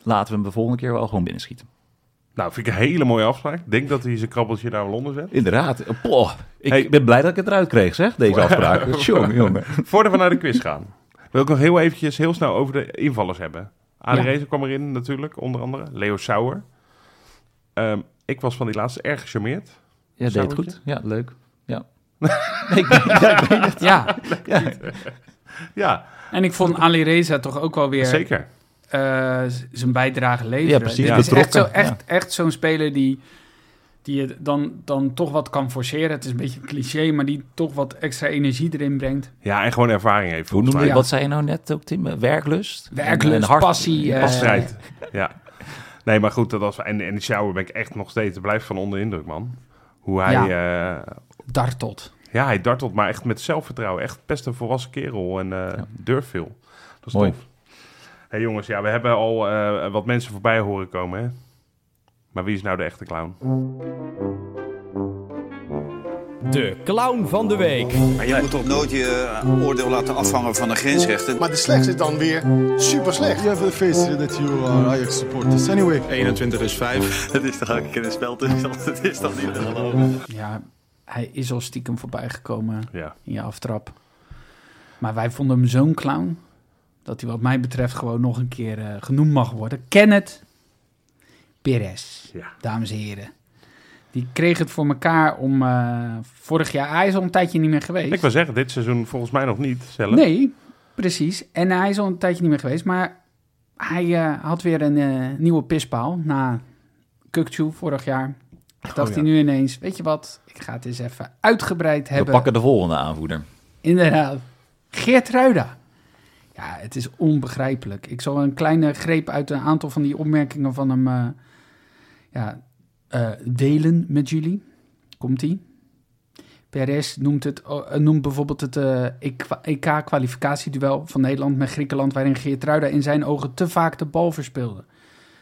S2: Laten we hem de volgende keer wel gewoon binnenschieten.
S1: Nou, vind ik een hele mooie afspraak. Ik denk dat hij zijn krabbeltje naar Londen zet.
S2: Inderdaad. Poh, ik
S1: Hey.
S2: ben blij dat ik het eruit kreeg, zeg, deze afspraak. Tjonge, jongen.
S1: Voordat we naar de quiz gaan, wil ik nog heel eventjes heel snel over de invallers hebben. Adi Rezer kwam erin natuurlijk, onder andere. Leo Sauer. Ehm, ik was van die laatste erg gecharmeerd.
S2: Ja, deed het
S1: Zoutje?
S2: goed. Ja, leuk. Ja. Nee, ik, ja, ik weet het.
S3: Ja,
S2: Ja.
S1: Ja,
S3: en ik vond Ali Reza toch ook wel weer
S1: zeker.
S3: eh, z- zijn bijdrage leveren.
S2: Ja, precies,
S3: Dit is echt, zo,
S2: betrokken, ja.
S3: echt, echt zo'n speler die, die je dan, dan toch wat kan forceren. Het is een beetje een cliché, maar die toch wat extra energie erin brengt.
S1: Ja, en gewoon ervaring heeft.
S2: Hoe
S1: volgens
S2: noemde
S1: mij.
S2: je, wat zei je nou net ook, Tim? Werklust?
S3: Werklust,
S2: En- en
S3: passie, eh,
S1: Strijd. Ja. Nee, maar goed, dat was. En, en die shower ben ik echt nog steeds. Er blijft van onder indruk, man. Hoe hij. eh, Ja.
S3: Dartelt.
S1: ja, hij dartelt, maar echt met zelfvertrouwen. Echt best een volwassen kerel en eh durft veel. Dat is
S2: Mooi.
S1: tof. hey, jongens, ja, we hebben al eh, wat mensen voorbij horen komen, hè? Maar wie is nou de echte clown?
S4: De clown van de week.
S5: Maar je moet toch nooit je oordeel laten afhangen van de grensrechter.
S6: Maar de slechtste is dan weer super slecht. You have to face that you are eh, Ajax supporters anyway.
S7: 21 is 5.
S5: Het is toch ook een keer een spel tussen ons. Het is toch niet te geloven.
S3: Ja, hij is al stiekem voorbij gekomen
S1: Ja.
S3: in je aftrap. Maar wij vonden hem zo'n clown... dat hij wat mij betreft gewoon nog een keer eh, genoemd mag worden. Kenneth Perez,
S1: Ja.
S3: dames en heren. Die kreeg het voor elkaar om... eh, vorig jaar, hij is al een tijdje niet meer geweest.
S1: Ik wil zeggen, dit seizoen volgens mij nog niet zelf.
S3: Nee, precies. En hij is al een tijdje niet meer geweest, maar hij eh, had weer een eh, nieuwe pispaal na Kukchu vorig jaar. Dacht
S2: Oh,
S1: ja.
S3: hij nu ineens, weet je wat, ik ga het eens even uitgebreid
S2: We
S3: hebben.
S2: pakken de volgende aanvoerder.
S3: Inderdaad. Geert Ruida. Ja, het is onbegrijpelijk. Ik zal een kleine greep uit een aantal van die opmerkingen van hem eh, ja, eh, delen met jullie. Komt-ie. Perez noemt, het, oh, eh, noemt bijvoorbeeld het eh, EK- EK-kwalificatieduel van Nederland met Griekenland... waarin Geert Ruida in zijn ogen te vaak de bal verspeelde.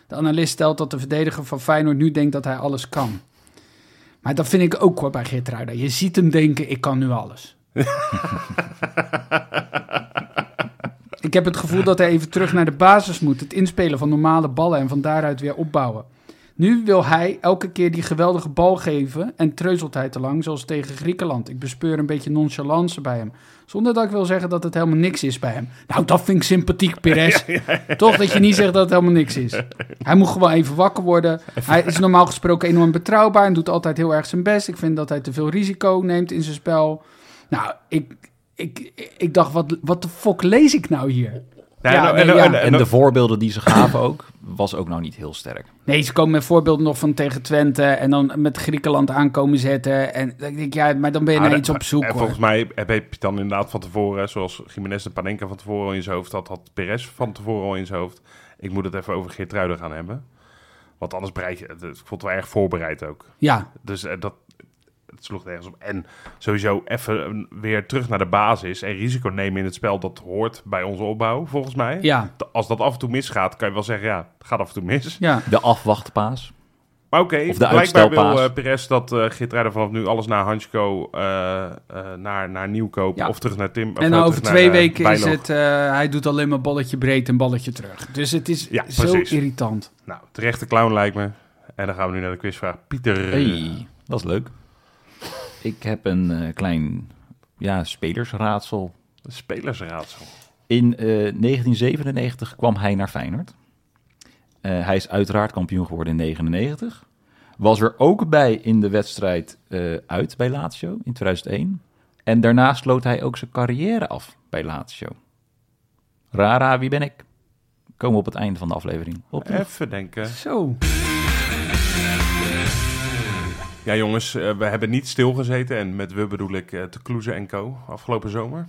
S3: De analist stelt dat de verdediger van Feyenoord nu denkt dat hij alles kan. Maar dat vind ik ook hoor bij Geert Ruida. Je ziet hem denken, ik kan nu alles. Ik heb het gevoel dat hij even terug naar de basis moet. Het inspelen van normale ballen en van daaruit weer opbouwen. Nu wil hij elke keer die geweldige bal geven en treuzelt hij te lang, zoals tegen Griekenland. Ik bespeur een beetje nonchalance bij hem. Zonder dat ik wil zeggen dat het helemaal niks is bij hem. Nou, dat vind ik sympathiek, Perez. Toch dat je niet zegt dat het helemaal niks is. Hij moet gewoon even wakker worden. Hij is normaal gesproken enorm betrouwbaar en doet altijd heel erg zijn best. Ik vind dat hij te veel risico neemt in zijn spel. Nou, ik, ik, ik dacht, wat, wat de fuck lees ik nou hier?
S1: Ja, en-
S3: Ja, nee,
S1: en-
S3: ja.
S1: en- en-
S2: En de voorbeelden die ze gaven ook, was ook nou niet heel sterk.
S3: Nee, ze komen met voorbeelden nog van tegen Twente en dan met Griekenland aankomen zetten. En dan denk ik, ja, maar dan ben je
S1: Ah,
S3: naar
S1: dat-
S3: iets op zoek.
S1: En
S3: hoor.
S1: volgens mij heb heb je dan inderdaad van tevoren, zoals Jiménez en Panenka van tevoren al in zijn hoofd had, had Perez van tevoren al in zijn hoofd. Ik moet het even over Geertruiden gaan hebben. Want anders breid je, het- het- ik vond het wel erg voorbereid ook.
S3: Ja,
S1: Dus eh, dat het sloeg nergens op. En sowieso even eh, weer terug naar de basis en risico nemen in het spel, dat hoort bij onze opbouw, volgens mij.
S3: ja,
S1: T- Als dat af en toe misgaat, kan je wel zeggen, ja, het gaat af en toe mis.
S3: ja.
S2: De afwachtpaas.
S1: Maar oké,
S2: Of de
S1: blijkbaar wil
S2: uitstelpaas.
S1: eh Perez dat eh Geertruiden vanaf nu alles naar Hansko eh, eh, naar, naar nieuw kopen
S3: Ja.
S1: of terug naar Tim. of
S3: En
S1: nou,
S3: over
S1: terug
S3: twee
S1: naar, eh,
S3: weken
S1: Bijlo.
S3: is het, eh, hij doet alleen maar balletje breed en balletje terug. Dus het is
S1: Ja,
S3: zo
S1: precies.
S3: irritant.
S1: Nou, terechte clown lijkt me. En dan gaan we nu naar de quizvraag. Pieter.
S2: Hey, Eh, dat is leuk. Ik heb een eh, klein ja, spelersraadsel.
S1: Spelersraadsel.
S2: In eh, 1997 kwam hij naar Feyenoord. Eh, hij is uiteraard kampioen geworden in 1999. Was er ook bij in de wedstrijd eh, uit bij Lazio in 2001. En daarna sloot hij ook zijn carrière af bij Lazio. Rara, wie ben ik? Komen we op het einde van de aflevering. Op
S1: Even denken.
S3: Zo.
S1: Ja, jongens, eh, we hebben niet stilgezeten. En met we bedoel ik eh Te Kloeze en Co. afgelopen zomer.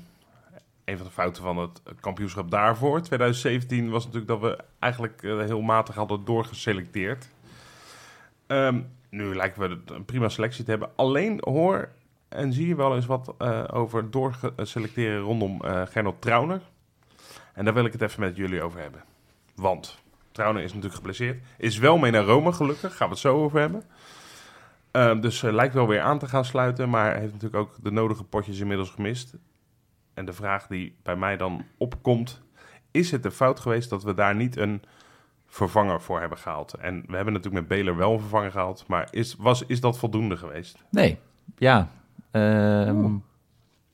S1: Een van de fouten van het kampioenschap daarvoor, 2017, was natuurlijk dat we eigenlijk eh, heel matig hadden doorgeselecteerd. Ehm, nu lijken we het een prima selectie te hebben. Alleen hoor en zie je wel eens wat eh, over doorgeselecteren rondom eh Gernot Trauner. En daar wil ik het even met jullie over hebben. Want Trauner is natuurlijk geblesseerd. Is wel mee naar Rome, gelukkig. Gaan we het zo over hebben. Ehm, dus eh, lijkt wel weer aan te gaan sluiten, maar heeft natuurlijk ook de nodige potjes inmiddels gemist. En de vraag die bij mij dan opkomt, is het een fout geweest dat we daar niet een vervanger voor hebben gehaald? En we hebben natuurlijk met Beler wel een vervanger gehaald, maar is, was, is dat voldoende geweest?
S2: Nee, ja. Ehm,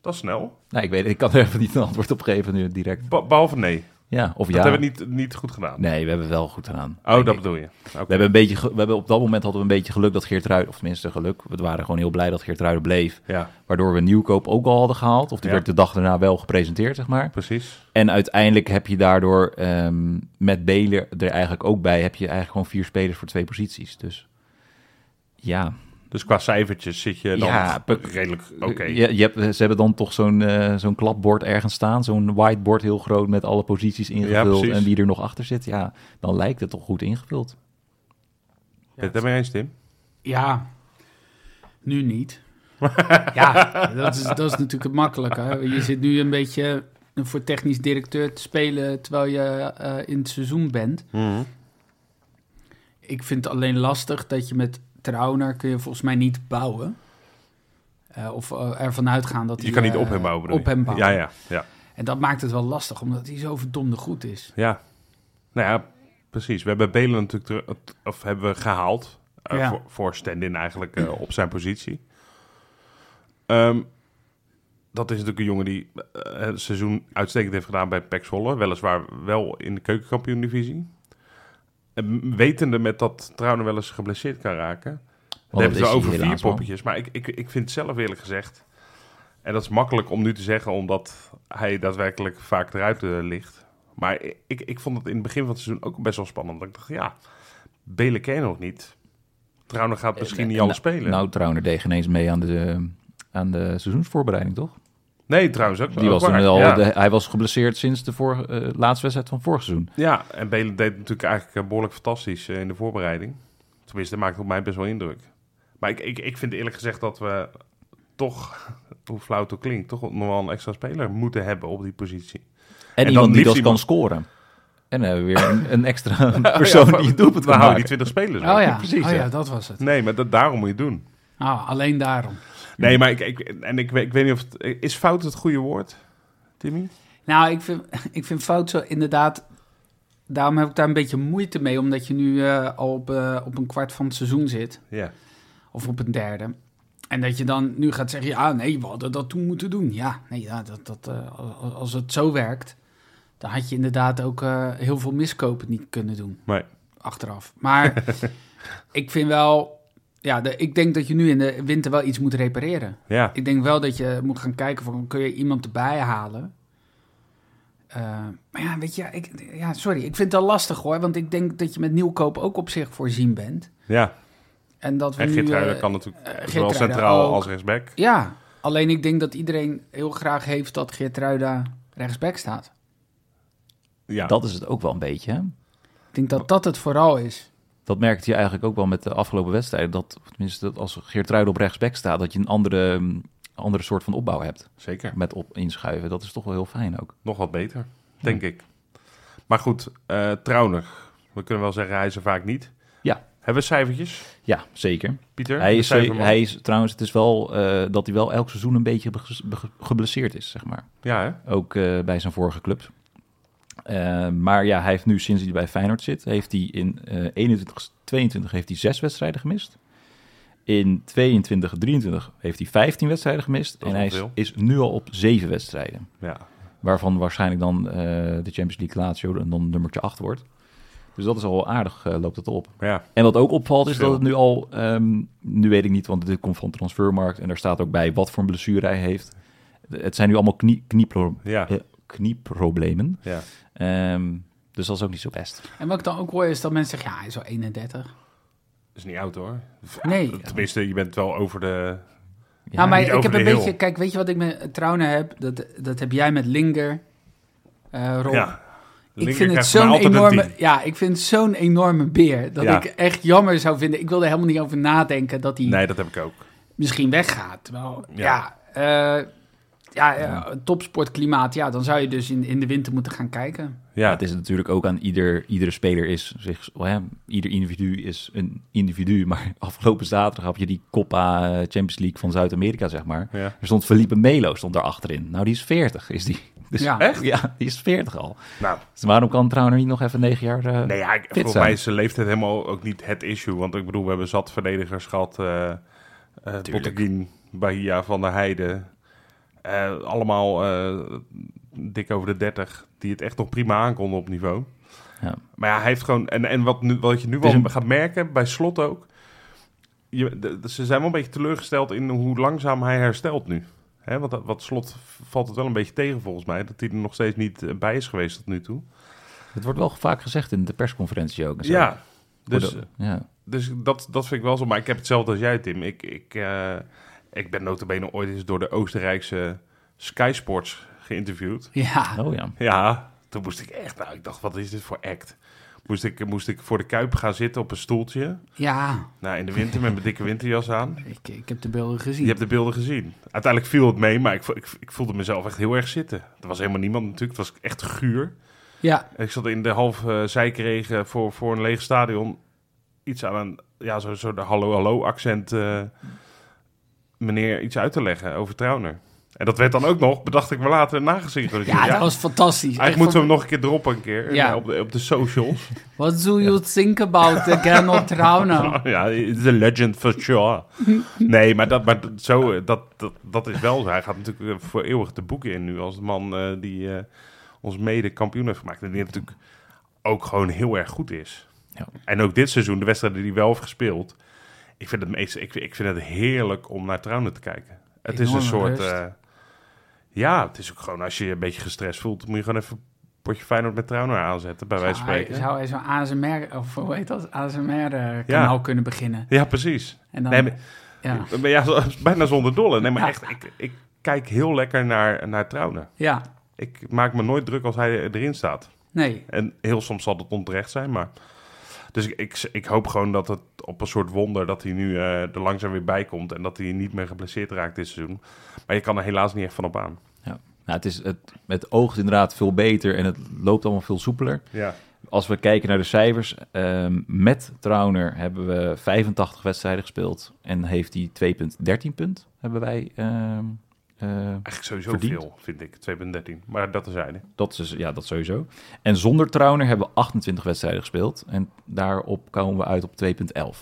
S1: Dat is snel.
S2: nou, ik weet het, ik kan er even niet een antwoord op geven nu direct.
S1: Be- behalve nee,
S2: Ja, of
S1: dat
S2: ja.
S1: hebben we niet, niet goed gedaan.
S2: Nee, we hebben wel goed gedaan.
S1: Oh,
S2: Denk
S1: dat
S2: ik.
S1: bedoel je. Oké.
S2: We hebben een beetje, ge- we hebben op dat moment hadden we een beetje geluk dat Geert Ruiden, of tenminste geluk, we waren gewoon heel blij dat Geert Ruiden bleef.
S1: Ja,
S2: Waardoor we Nieuwkoop ook al hadden gehaald. Of die
S1: Ja.
S2: werd de dag daarna wel gepresenteerd, zeg maar.
S1: precies.
S2: En uiteindelijk heb je daardoor ehm, met Beler er eigenlijk ook bij, heb je eigenlijk gewoon vier spelers voor twee posities. Dus ja,
S1: Dus qua cijfertjes zit je dan
S2: Ja,
S1: g-
S2: pe-
S1: redelijk oké.
S2: Je, je hebt, ze hebben dan toch zo'n eh, zo'n klapbord ergens staan. Zo'n whiteboard heel groot met alle posities ingevuld.
S1: precies.
S2: en wie er nog achter zit. Ja, dan lijkt het toch goed ingevuld.
S1: Ben je het daarmee eens, Tim?
S3: Ja, nu niet. ja, dat is, dat is natuurlijk het makkelijke. hè. Je zit nu een beetje eh, voor technisch directeur te spelen terwijl je eh, in het seizoen bent.
S1: Mhm.
S3: Ik vind het alleen lastig dat je met Trauner kun je volgens mij niet bouwen. Eh, of eh, ervan uitgaan dat
S1: Je
S3: hij,
S1: kan niet
S3: eh,
S1: op hem bouwen. bedoel
S3: op
S1: je?
S3: hem bouwen.
S1: Ja, ja, ja.
S3: En dat maakt het wel lastig, omdat hij zo verdomde goed is.
S1: Ja, nou ja, precies. We hebben Belen natuurlijk ter- of hebben we gehaald eh,
S3: Ja.
S1: voor, voor stand-in eigenlijk eh, op zijn positie. Ehm, dat is natuurlijk een jongen die eh, het seizoen uitstekend heeft gedaan bij PEC Zwolle. Weliswaar wel in de keukenkampioen-divisie. En wetende met dat Trouwen wel eens geblesseerd kan raken. Dan hebben
S2: dat
S1: we
S2: is
S1: het
S2: hij
S1: over vier
S2: helaas wel.
S1: poppetjes. Maar ik, ik, ik vind zelf eerlijk gezegd... En dat is makkelijk om nu te zeggen, omdat hij daadwerkelijk vaak eruit eh, ligt. Maar ik, ik vond het in het begin van het seizoen ook best wel spannend. Dat ik dacht, ja, Belen ken je nog niet. Trouwen gaat misschien niet
S2: Eh, En-
S1: alles spelen.
S2: Nou, Trauner deed geen eens mee aan de, aan de seizoensvoorbereiding, toch?
S1: nee, trouwens ook
S2: Die
S1: ook
S2: was toen
S1: waar,
S2: al,
S1: ja.
S2: de- hij was geblesseerd sinds de vorige, eh, laatste wedstrijd van vorig seizoen.
S1: Ja, en Belen deed natuurlijk eigenlijk eh, behoorlijk fantastisch eh, in de voorbereiding. Tenminste, dat maakt op mij best wel indruk. Maar ik, ik, ik vind eerlijk gezegd dat we toch, hoe flauw het ook klinkt, toch nog wel een extra speler moeten hebben op die positie.
S2: En,
S1: dan
S2: iemand die
S1: liefst
S2: dat
S1: iemand-
S2: kan scoren. En dan hebben we weer een, een extra persoon die het doelpunt
S1: oh We
S2: kan
S1: houden die 20
S2: maken.
S1: spelers.
S3: Oh
S1: op.
S3: ja,
S2: precies,
S3: oh ja
S2: ja.
S3: dat was het.
S1: Nee, maar dat, daarom moet je het doen.
S3: Ah, alleen daarom.
S1: Nee, maar ik, ik, en ik, weet- ik weet niet of... Het, is fout het goede woord, Timmy?
S3: Nou, ik vind, ik vind fout zo inderdaad. Daarom heb ik daar een beetje moeite mee, omdat je nu eh, al op, eh, op een kwart van het seizoen zit.
S1: Ja.
S3: Of op een derde. En dat je dan nu gaat zeggen: ja, nee, we hadden dat toen moeten doen. Ja, nee, ja, dat, dat, eh, als, als het zo werkt, dan had je inderdaad ook eh, heel veel miskopen niet kunnen doen
S1: Nee.
S3: achteraf. Maar ik vind wel, ja, de- ik denk dat je nu in de winter wel iets moet repareren.
S1: Ja.
S3: Ik denk wel dat je moet gaan kijken van, kun je iemand erbij halen? Eh, maar ja, weet je, ik, ja, sorry, ik vind dat lastig hoor. Want ik denk dat je met nieuwkoop ook op zich voorzien bent.
S1: ja.
S3: En dat we
S1: En
S3: nu...
S1: Gitruiden
S3: eh,
S1: kan natuurlijk
S3: eh,
S1: zowel
S3: Geertruida
S1: centraal
S3: ook.
S1: als rechtsback.
S3: Ja, alleen ik denk dat iedereen heel graag heeft dat Geertruida rechtsback staat.
S1: Ja.
S2: Dat is het ook wel een beetje, hè?
S3: Ik denk dat dat het vooral is.
S2: Dat merkte je eigenlijk ook wel met de afgelopen wedstrijden. Dat, of tenminste, dat als Geert op rechtsback staat, dat je een andere, ehm, andere soort van opbouw hebt.
S1: Zeker.
S2: Met op inschuiven. Dat is toch wel heel fijn ook.
S1: nog wat beter, denk ik. Maar goed, eh Trauner. We kunnen wel zeggen, hij is er vaak niet.
S2: Ja.
S1: Hebben we cijfertjes,
S2: Ja, zeker.
S1: Pieter?
S2: Hij is, eh,
S1: Cijferman.
S2: hij is trouwens, het is wel eh, dat hij wel elk seizoen een beetje beges- bege- geblesseerd is, zeg maar.
S1: Ja, hè?
S2: Ook eh, bij zijn vorige clubs. Eh, maar ja, hij heeft nu sinds hij bij Feyenoord zit, heeft hij in eh 21, 22 heeft hij zes wedstrijden gemist. In 22, 23 heeft hij 15 wedstrijden gemist.
S1: Dat is
S2: En hij is,
S1: wel
S2: is nu al op zeven wedstrijden.
S1: Ja.
S2: Waarvan waarschijnlijk dan eh, de Champions League Lazio en dan nummertje 8 wordt. Dus dat is al wel aardig, eh, loopt dat op.
S1: Maar ja.
S2: En wat ook opvalt is
S1: Veel.
S2: dat het nu al, ehm, nu weet ik niet, want dit komt van transfermarkt en daar staat ook bij wat voor een blessure hij heeft. Het zijn nu allemaal knie, kniepro-
S1: Ja.
S2: eh, knieproblemen.
S1: ja.
S2: Ehm, dus dat is ook niet zo best.
S3: En wat ik dan ook hoor is dat mensen zeggen, ja, hij is al 31.
S1: is niet oud, hoor.
S3: Nee,
S1: Tenminste, je bent wel over de...
S3: Ja, maar
S1: niet
S3: ik
S1: over
S3: heb
S1: de
S3: een
S1: heel.
S3: beetje... Kijk, weet je wat ik met Trouwner heb? Dat, dat heb jij met Linger, eh Rob.
S1: Ja.
S3: ik
S1: Linker
S3: vind het
S1: krijgt van mij
S3: zo'n
S1: altijd een
S3: enorme...
S1: tien.
S3: Ja, ik vind het zo'n enorme beer. Dat
S1: Ja.
S3: ik echt jammer zou vinden. Ik wilde helemaal niet over nadenken dat hij
S1: Nee, dat heb ik ook.
S3: misschien weggaat. Terwijl,
S1: Ja.
S3: ja... eh, ja, eh, topsportklimaat. Ja, dan zou je dus in, in de winter moeten gaan kijken.
S1: Ja,
S2: Het is natuurlijk ook aan ieder, iedere speler is zich, oh ja, ieder individu is een individu. Maar afgelopen zaterdag had je die Copa eh, Champions League van Zuid-Amerika, zeg maar.
S1: Ja.
S2: Er stond Felipe Melo stond daar achterin. Nou, die is 40, is die. Dus,
S3: Ja.
S1: Echt?
S2: Ja, die is 40 al.
S1: nou,
S2: Dus waarom kan Trouwner niet nog even negen jaar eh,
S1: nee, ja, ik-
S2: fit
S1: volgens
S2: zijn?
S1: mij is zijn leeftijd helemaal ook niet het issue. Want ik bedoel, we hebben zat verdedigers gehad. eh eh Botteguin, Bahia, Van der Heijden. Eh, allemaal eh, dik over de 30, die het echt nog prima aankonden op niveau.
S2: Ja.
S1: Maar ja, hij heeft gewoon... En, en wat, nu, wat je nu
S2: is
S1: wel
S2: een-
S1: gaat merken, bij Slot ook... Je, de- de- ze zijn wel een beetje teleurgesteld in hoe langzaam hij herstelt nu. Hè, want dat- wat Slot valt het wel een beetje tegen volgens mij... dat hij er nog steeds niet eh, bij is geweest tot nu toe.
S2: Het wordt wel vaak gezegd in de persconferentie ook. en zo.
S1: Ja, dus,
S2: Worden- ja.
S1: dus dat, dat vind ik wel zo. Maar ik heb hetzelfde als jij, Tim. Ik, ik, eh, ik ben notabene ooit eens door de Oostenrijkse Sky Sports geïnterviewd.
S3: Ja,
S2: Oh ja.
S1: Ja, toen moest ik echt... Nou, ik dacht, wat is dit voor act? Moest ik, moest ik voor de Kuip gaan zitten op een stoeltje.
S3: ja.
S1: Nou, in de winter met mijn dikke winterjas aan.
S3: Ik, ik heb de beelden gezien.
S1: Je hebt de beelden gezien. Uiteindelijk viel het mee, maar ik, vo- ik, ik voelde mezelf echt heel erg zitten. Er was helemaal niemand natuurlijk. Het was echt guur.
S3: Ja,
S1: Ik zat in de half eh zijkregen voor, voor een leeg stadion. Iets aan een, ja, zo, zo de hallo-hallo-accent eh, meneer iets uit te leggen over Trauner. En dat werd dan ook nog, bedacht ik me later, nagesynchroniseerd.
S3: ja, dat was fantastisch.
S1: Eigenlijk
S3: Echt
S1: moeten we
S3: van-
S1: hem nog een keer droppen een keer
S3: Ja.
S1: eh, op, de, op de socials.
S3: What do you think about the Gernot Trauner?
S1: ja, it's a legend for sure. nee, maar, dat, maar dat- zo, eh, dat, dat, dat is wel zo. Hij gaat natuurlijk eh, voor eeuwig de boeken in nu als de man eh, die eh, ons mede kampioen heeft gemaakt. En die natuurlijk ook gewoon heel erg goed is.
S2: Ja.
S1: En ook dit seizoen, de wedstrijden die hij wel heeft gespeeld. Ik vind het, meest, ik, ik vind het heerlijk om naar Trouwen te kijken. Het is een
S3: Enorme
S1: soort...
S3: rust.
S1: eh, ja, het is ook gewoon als je je een beetje gestrest voelt, moet je gewoon even een potje Feyenoord met Trouwen aanzetten, bij wijze van
S3: Ah, Hij-
S1: spreken.
S3: Zou hij zo'n ASMR, of hoe heet dat, ASMR-kanaal eh, kunnen beginnen?
S1: Ja, precies.
S3: En dan,
S1: Nee, maar-
S3: ja.
S1: Maar ja, zo- bijna zonder dolle. Nee, maar echt, ik, ik kijk heel lekker naar, naar Trouwen.
S3: ja,
S1: Ik maak me nooit druk als hij erin staat.
S3: nee.
S1: En heel soms zal dat onterecht zijn, maar... Dus ik, ik, ik hoop gewoon dat het op een soort wonder... dat hij nu eh, er langzaam weer bij komt... en dat hij niet meer geblesseerd raakt dit seizoen. Maar je kan er helaas niet echt van op aan.
S2: ja. Nou, het, is, het, het oogt inderdaad veel beter en het loopt allemaal veel soepeler.
S1: Ja,
S2: Als we kijken naar de cijfers, ehm, met Trauner hebben we 85 wedstrijden gespeeld en heeft hij 2,13 punt hebben wij. ehm, eh,
S1: eigenlijk sowieso
S2: Verdiend.
S1: veel, vind ik. 2.13. Maar dat terzijde.
S2: dat is ja, dat sowieso. En zonder Trauner hebben we 28 wedstrijden gespeeld en daarop komen we uit op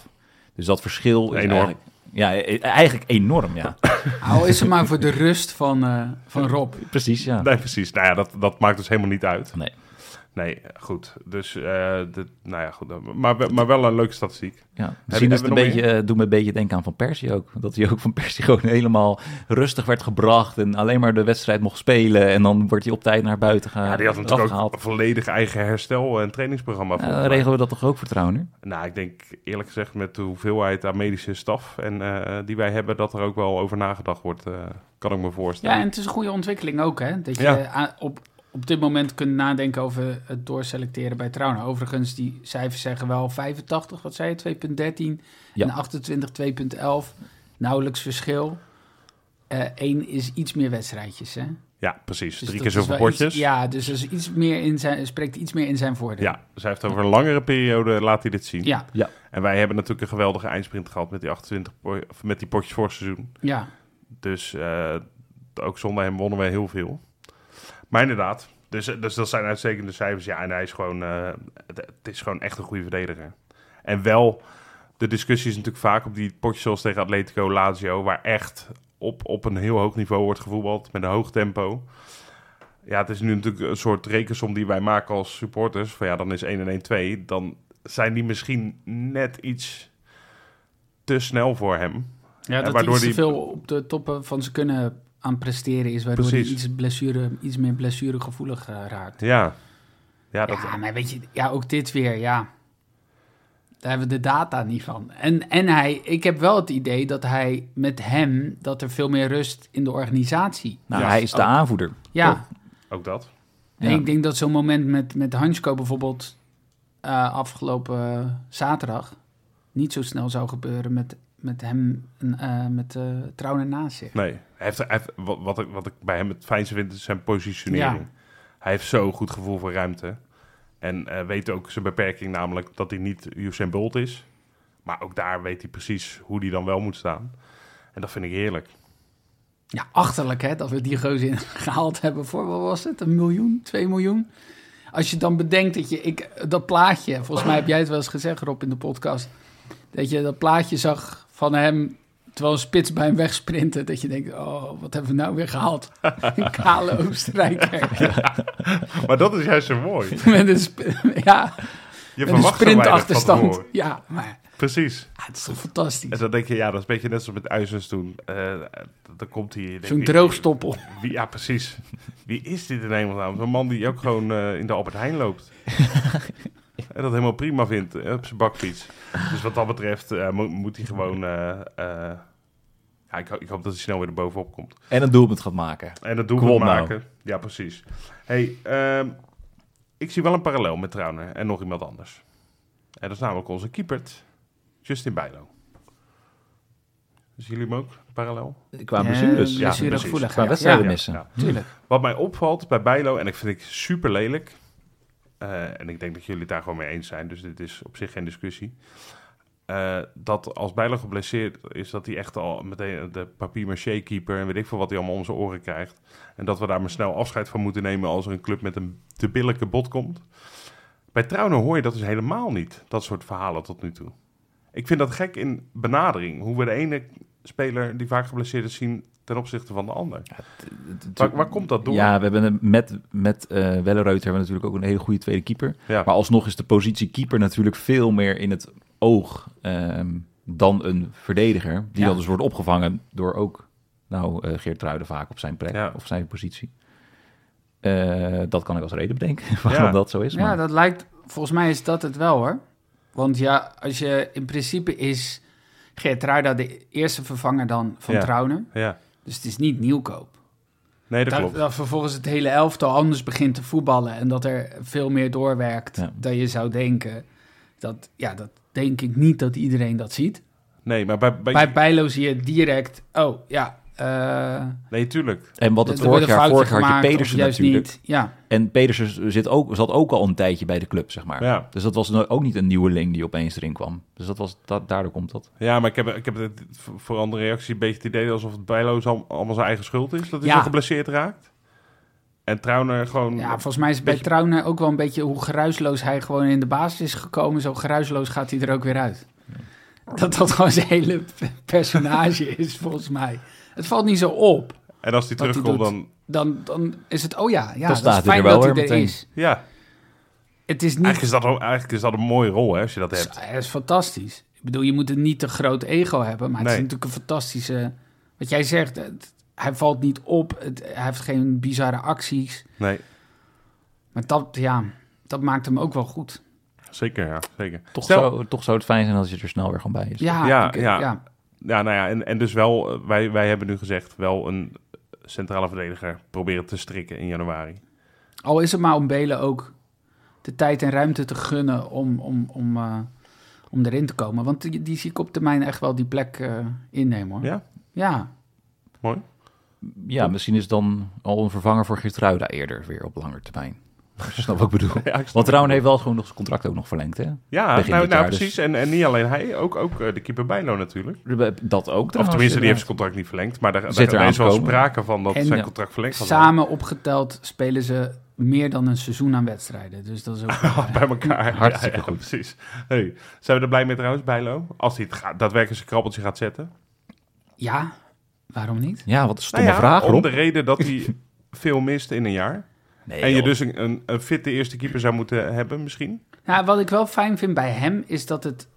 S2: 2,11. Dus dat verschil is
S1: Enorm.
S2: eigenlijk, ja, e- eigenlijk enorm, ja.
S3: Al is het maar voor de rust van, eh, van Rob.
S2: Precies, ja.
S1: Nee, precies. Nou ja, dat, dat maakt dus helemaal niet uit.
S2: Nee.
S1: Nee, goed. Dus, eh dit, nou ja, goed. Maar, we- maar wel een leuke statistiek.
S2: Ja, misschien
S1: je-
S2: is het een
S1: hebben we
S2: beetje, eh, doet me een beetje denken aan Van Persie ook. Dat hij ook Van Persie gewoon helemaal rustig werd gebracht en alleen maar de wedstrijd mocht spelen. En dan wordt hij op tijd naar buiten gehaald.
S1: Ja, die had natuurlijk ook een volledig eigen herstel- en trainingsprogramma.
S2: Ja,
S1: volgens
S2: dan
S1: mij.
S2: Eh, regelen we dat toch ook voor Trouwner?
S1: Nou, ik denk eerlijk gezegd met de hoeveelheid aan medische staf en, eh, die wij hebben, dat er ook wel over nagedacht wordt, eh, kan ik me
S3: Ja,
S1: voorstellen.
S3: en het is een goede ontwikkeling ook, hè? Dat je
S1: Ja.
S3: eh, aan- op, op dit moment kunt nadenken over het doorselecteren bij Trauner. Overigens, die cijfers zeggen wel 85, wat zei je, 2.13
S2: Ja.
S3: en 28, 2.11. Nauwelijks verschil. Eén is iets meer wedstrijdjes, hè?
S1: Ja, precies.
S3: Dus
S1: Drie
S3: dat
S1: keer
S3: is
S1: zoveel
S3: wel iets-
S1: potjes. Ja.
S3: ja, dus er is iets meer in zijn, spreekt iets meer in zijn voordeel.
S1: dus hij heeft over een langere periode, laat hij dit zien.
S3: Ja,
S1: En wij hebben natuurlijk een geweldige eindsprint gehad met die 28 po- of met die potjes vorig seizoen.
S3: ja.
S1: Dus eh, ook zonder hem wonnen we heel veel. Maar inderdaad, dus, dus dat zijn uitstekende cijfers. Ja, en hij is gewoon, eh, het, het is gewoon echt een goede verdediger. En wel, de discussie is natuurlijk vaak op die potjes zoals tegen Atletico, Lazio, waar echt op, op een heel hoog niveau wordt gevoetbald met een hoog tempo. Ja, het is nu natuurlijk een soort rekensom die wij maken als supporters. Van ja, dan is 1 en 1 2. Dan zijn die misschien net iets te snel voor hem.
S3: Ja, dat
S1: waardoor
S3: hij
S1: die-
S3: iets te veel op de toppen van zijn kunnen aan presteren is, waardoor
S1: Precies.
S3: hij iets, blessure, iets meer blessuregevoelig eh, raakt.
S1: Ja, ja, dat,
S3: Ja, maar weet je, ja, ook dit weer, ja. Daar hebben we de data niet van. En, en hij, ik heb wel het idee dat hij met hem, dat er veel meer rust in de organisatie.
S2: Nou,
S1: Ja.
S2: hij is de
S3: Oh.
S2: aanvoerder.
S3: Ja,
S2: Toch?
S1: ook dat.
S3: en
S2: Ja.
S3: ik denk dat zo'n moment met, met Hansko bijvoorbeeld eh, afgelopen zaterdag niet zo snel zou gebeuren met, met hem, eh, met eh Trouwen naast zich.
S1: Nee, hij heeft, hij heeft- wat, wat, ik, wat ik bij hem het fijnste vind, is zijn positionering. Hij heeft zo'n goed gevoel voor ruimte. En eh, weet ook zijn beperking, namelijk dat hij niet Usain Bolt is. Maar ook daar weet hij precies hoe hij dan wel moet staan. En dat vind ik heerlijk.
S3: Ja, achterlijk hè, dat we die gozer in gehaald hebben voor, wat was het, een miljoen, twee miljoen? Als je dan bedenkt dat je, ik, dat plaatje, volgens mij heb jij het wel eens gezegd Rob in de podcast, dat je dat plaatje zag van hem terwijl een spits bij hem wegsprintte, dat je denkt, oh, wat hebben we nou weer gehaald? Een kale Oostenrijker.
S1: Maar dat is juist zo mooi.
S3: Met een, sp- ja,
S1: Je verwacht zo
S3: met een
S1: weinig van
S3: sprintachterstand.
S1: tevoren.
S3: Ja, maar
S1: Precies.
S3: ja, het is toch
S1: En
S3: fantastisch.
S1: dan denk je, ja, dat is een beetje net zoals met Uizens toen. Eh, dan komt hij... je denkt,
S3: Zo'n
S1: wie-
S3: droogstoppel.
S1: wie- Ja, precies. Wie is dit in hemelsnaam? Zo'n man die ook gewoon eh, in de Albert Heijn loopt. en dat helemaal prima vindt eh, op zijn bakfiets. Dus wat dat betreft eh, mo- moet hij gewoon... eh, eh, ja, ik, ho- ik hoop dat hij snel weer erbovenop komt.
S7: En een doelpunt gaat maken.
S1: En dat doen
S7: Kom
S1: we
S7: op nou.
S1: maken. Ja, precies. hey, ehm, ik zie wel een parallel met Trauner en nog iemand anders. En dat is namelijk onze keeper, Justin Bijlo. Zien jullie hem ook parallel?
S2: Qua blessures.
S1: ja,
S3: blessuregevoelig,
S2: Qua
S3: ja.
S2: wedstrijden
S3: Ja,
S2: missen.
S1: ja.
S3: tuurlijk.
S1: Wat mij opvalt bij Bijlo, en ik vind ik super lelijk. eh, en ik denk dat jullie het daar gewoon mee eens zijn, dus dit is op zich geen discussie. eh, dat als Bijlo geblesseerd is, dat hij echt al meteen de papier-maché keeper en weet ik veel wat hij allemaal om zijn oren krijgt. En dat we daar maar snel afscheid van moeten nemen als er een club met een te billijke bod komt. Bij Trouwner hoor je dat dus helemaal niet, dat soort verhalen tot nu toe. Ik vind dat gek in benadering, hoe we de ene speler die vaak geblesseerd is zien ten opzichte van de ander. Waar, waar komt dat door?
S2: Ja, we hebben een- met, met eh Wellereuter hebben we natuurlijk ook een hele goede tweede keeper.
S1: Ja.
S2: Maar alsnog is de positie keeper natuurlijk veel meer in het oog ehm, dan een verdediger. Die
S3: Ja.
S2: dan dus wordt opgevangen door ook nou, eh Geert Ruiden vaak op zijn plek
S1: Ja.
S2: of zijn positie. Eh, dat kan ik als reden bedenken waarom
S1: Ja.
S2: dat zo is.
S3: Ja,
S2: maar-
S3: dat lijkt. Volgens mij is dat het wel hoor. Want ja, als je in principe is Geert de eerste vervanger dan van
S1: Ja.
S3: Trauner.
S1: Ja,
S3: Dus het is niet nieuwkoop.
S1: nee, dat
S3: Dat,
S1: klopt.
S3: dat vervolgens het hele elftal anders begint te voetballen en dat er veel meer doorwerkt
S2: Ja.
S3: dan je zou denken. Dat, ja, dat denk ik niet dat iedereen dat ziet.
S1: Nee, maar bij, bij,
S3: Bij Bijlo zie je direct, oh ja, eh
S1: nee, tuurlijk.
S2: en wat
S3: er
S2: het
S3: wordt
S2: vorig
S3: een
S2: jaar,
S3: foutje
S2: vorig jaar had
S3: gemaakt
S2: je
S3: of
S2: Pedersen
S3: juist
S2: natuurlijk.
S3: Niet. Ja,
S2: En Pedersen zit ook, zat ook al een tijdje bij de club, zeg maar.
S1: Ja.
S2: Dus dat was nou ook niet een nieuwe link die opeens erin kwam. Dus dat was, dat, daardoor komt dat.
S1: Ja, maar ik heb, ik heb het, voor andere reactie een beetje het idee alsof het Bijlo's al- allemaal zijn eigen schuld is. Dat hij
S3: Ja.
S1: zo geblesseerd raakt. En Trauner gewoon...
S2: Mm.
S3: Ja, volgens mij is het bij
S1: Beetje-
S3: Trauner ook wel een beetje hoe geruisloos hij gewoon in de basis is gekomen. Zo geruisloos gaat hij er ook weer uit. Dat dat gewoon zijn hele personage is, volgens mij. Het valt niet zo op.
S1: en als hij
S3: wat hij
S1: terugkomt
S3: doet.
S1: dan...
S3: Dan, dan is het, oh ja, ja
S2: Dan
S3: dat
S2: staat
S3: is
S2: hij
S3: fijn
S2: er wel
S3: dat hij er
S2: weer meteen.
S3: is.
S1: Ja,
S3: Het is niet...
S1: eigenlijk is, dat, wel- eigenlijk is dat een mooie rol hè, als je dat hebt.
S3: Het is fantastisch. Ik bedoel, je moet een niet te groot ego hebben. Maar het
S1: Nee.
S3: is natuurlijk een fantastische... Wat jij zegt, het- hij valt niet op. Het, hij heeft geen bizarre acties.
S1: Nee,
S3: Maar dat, ja, dat maakt hem ook wel goed.
S1: zeker ja, zeker.
S2: Toch,
S1: Stel-
S2: zou, toch zou het fijn zijn als je er snel weer gewoon bij is.
S3: Ja,
S1: Ja,
S3: ik-
S1: ja.
S3: ja.
S1: Ja, nou ja, en, en dus wel, eh, wij, wij hebben nu gezegd, wel een centrale verdediger proberen te strikken in januari.
S3: Al is het maar om Belen ook de tijd en ruimte te gunnen om, om, om, eh, om erin te komen. Want die, die zie ik op termijn echt wel die plek eh, innemen hoor.
S1: Ja?
S3: Ja.
S1: Mooi.
S2: Ja, misschien is dan al een vervanger voor Geertruida eerder weer op langer termijn. Snap wat ik bedoel?
S1: Ja, ik snap
S2: Want Trouwen heeft wel gewoon nog zijn contract ook nog verlengd, hè?
S1: Ja,
S2: Begin
S1: nou,
S2: dit
S1: nou
S2: jaar dus.
S1: precies. En, en niet alleen hij, ook, ook eh, de keeper Bijlo natuurlijk.
S2: Dat ook
S1: Of
S2: trouwens.
S1: tenminste, die heeft
S2: inderdaad.
S1: zijn contract niet verlengd. Maar daar,
S2: Zit
S1: daar
S2: eraan
S1: is wel
S2: te komen.
S1: sprake van dat
S3: En
S1: zijn
S3: ja.
S1: contract verlengd gaat worden.
S3: Samen opgeteld spelen ze meer dan een seizoen aan wedstrijden. Dus dat is ook...
S1: Bij elkaar.
S2: Hartstikke
S1: Ja, ja,
S2: goed.
S1: precies. Hey, zijn we er blij mee trouwens, Bijlo? Als hij het gaat, daadwerkelijk zijn krabbeltje gaat zetten.
S3: ja, waarom niet?
S2: Ja, wat een stomme
S1: Nou ja,
S2: vraag,
S1: Om
S2: Rob.
S1: de reden dat hij veel mist in een jaar.
S2: Nee,
S1: en je
S2: joh.
S1: dus een, een, een fitte eerste keeper zou moeten hebben misschien.
S3: Nou, wat ik wel fijn vind bij hem is dat het...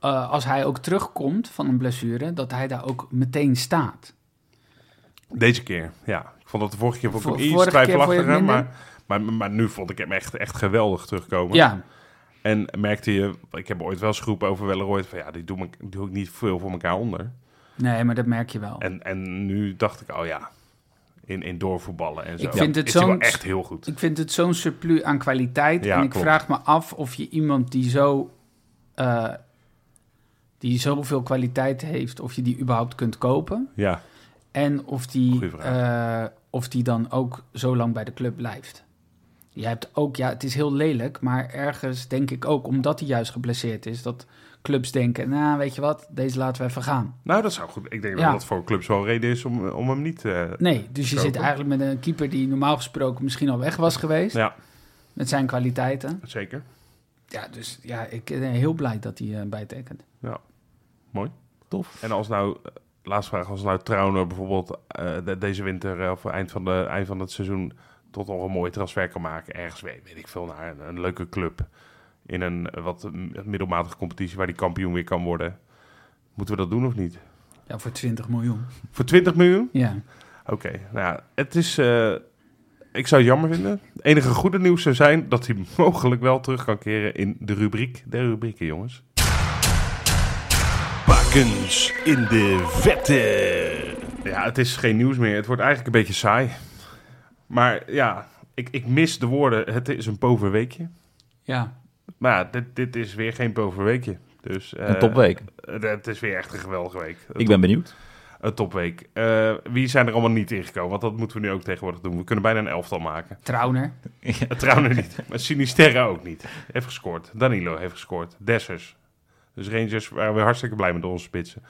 S3: eh, als hij ook terugkomt van een blessure, dat hij daar ook meteen staat.
S1: Deze keer, ja. Ik vond dat de vorige keer vond ik
S3: Vor-
S1: hem iets
S3: vorige keer vond je het
S1: twijfelachtiger.
S3: minder?
S1: Maar, maar, maar nu vond ik hem echt, echt geweldig terugkomen.
S3: Ja,
S1: En merkte je, ik heb ooit wel eens geroepen over Welleroy... van ja, die doe, ik, doe ik niet veel voor elkaar onder.
S3: nee, maar dat merk je wel.
S1: En, en nu dacht ik, oh ja, in, in doorvoetballen en zo.
S3: Ik vind het
S1: is hij wel
S3: zo'n-
S1: echt heel goed.
S3: Ik vind het zo'n surplus aan kwaliteit.
S1: Ja,
S3: en ik
S1: klopt.
S3: vraag me af of je iemand die zo. eh die zoveel kwaliteit heeft, of je die überhaupt kunt kopen.
S1: Ja,
S3: En of die,
S1: Goeie vraag.
S3: eh, of die dan ook zo lang bij de club blijft. Je hebt ook, ja, het is heel lelijk, maar ergens denk ik ook, omdat hij juist geblesseerd is, dat clubs denken, nou weet je wat, deze laten we even gaan.
S1: Nou, dat zou goed. Ik denk
S3: Ja.
S1: dat dat voor clubs wel een reden is om, om hem niet. eh,
S3: Nee, dus je
S1: Zo.
S3: zit eigenlijk met een keeper die normaal gesproken misschien al weg was geweest,
S1: Ja,
S3: met zijn kwaliteiten.
S1: zeker.
S3: Ja, dus ja, ik ben heel blij dat hij eh, bijtekent.
S1: Ja, mooi.
S2: Tof.
S1: En als nou, eh, laatste vraag, als nou Trouwner bijvoorbeeld eh, de- deze winter eh, of eind van, de, eind van het seizoen tot nog een mooie transfer kan maken, ergens weet, weet ik veel, naar een, een leuke club in een eh, wat m- middelmatige competitie waar die kampioen weer kan worden. Moeten we dat doen of niet?
S3: Ja, voor 20 miljoen.
S1: Voor 20 miljoen?
S3: Ja.
S1: Oké, nou ja, het is. eh, ik zou het jammer vinden. Het enige goede nieuws zou zijn dat hij mogelijk wel terug kan keren in de rubriek der rubrieken, jongens. Bakens in de vette. Ja, het is geen nieuws meer. Het wordt eigenlijk een beetje saai. Maar ja, ik, ik mis de woorden. Het is een poverweekje.
S3: Ja,
S1: Maar ja, dit, dit is weer geen poverweekje. Dus, eh,
S2: Een topweek.
S1: eh, Het is weer echt een geweldige week.
S2: Ik ben benieuwd.
S1: Een topweek. Eh, wie zijn er allemaal niet ingekomen? Want dat moeten we nu ook tegenwoordig doen. We kunnen bijna een elftal maken.
S3: Trauner.
S1: Eh, Trouwens niet. Maar Sinisterra ook niet. Heeft gescoord. Danilo heeft gescoord. Dessers. Dus Rangers waren we hartstikke blij met onze spitsen.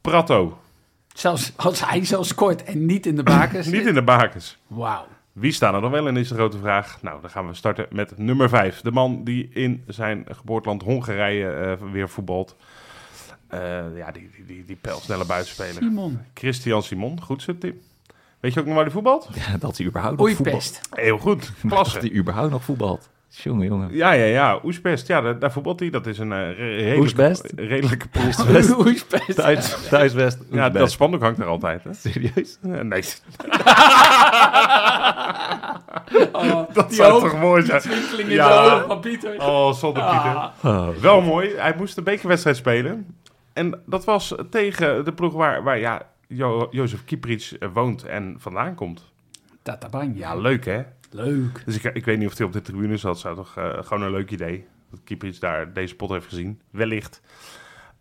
S1: Prato.
S3: Zelfs als hij zo scoort en niet in de bakers.
S1: Niet in de bakens.
S3: Wauw.
S1: Wie staan er dan wel in is de grote vraag. Nou, dan gaan we starten met nummer 5. De man die in zijn geboorteland Hongarije eh, weer voetbalt. Eh, ja, die, die, die, die pijlsnelle buitenspeler.
S3: Simon.
S1: Christian Simon. Goed zo, Tim. Weet je ook nog waar hij voetbalt?
S2: dat hij überhaupt nog
S3: Oei,
S2: voetbalt.
S3: pest.
S1: Heel goed.
S2: Dat
S1: Klasse.
S2: hij überhaupt nog voetbalt. Jongen, jongen.
S1: Ja, ja, ja. Oesbest. Ja, daar, daar voetbalt hij. Dat is een eh, re- redelijke,
S2: Oesbest?
S1: redelijke ploeg.
S2: West.
S3: Oei, pest.
S2: Thuis, thuis West.
S1: Ja, dat spandoek hangt er altijd. Hè?
S2: Serieus?
S1: Eh, Nee,
S3: Oh,
S1: dat
S3: die
S1: zou
S3: ogen,
S1: toch mooi zijn.
S3: die twinkeling in
S1: Ja.
S3: de ogen van Pieter.
S1: Oh, zonder Pieter. Wel mooi. Hij moest een bekerwedstrijd spelen. En dat was tegen de ploeg waar, waar ja, jo Jozef Kieprits eh, woont en vandaan komt.
S3: Tatabang,
S1: Ja,
S3: ja.
S1: leuk hè?
S3: Leuk.
S1: Dus ik, ik weet niet of hij op de tribune zat. Zou toch eh, gewoon een leuk idee. Dat Kieprits daar deze pot heeft gezien. Wellicht.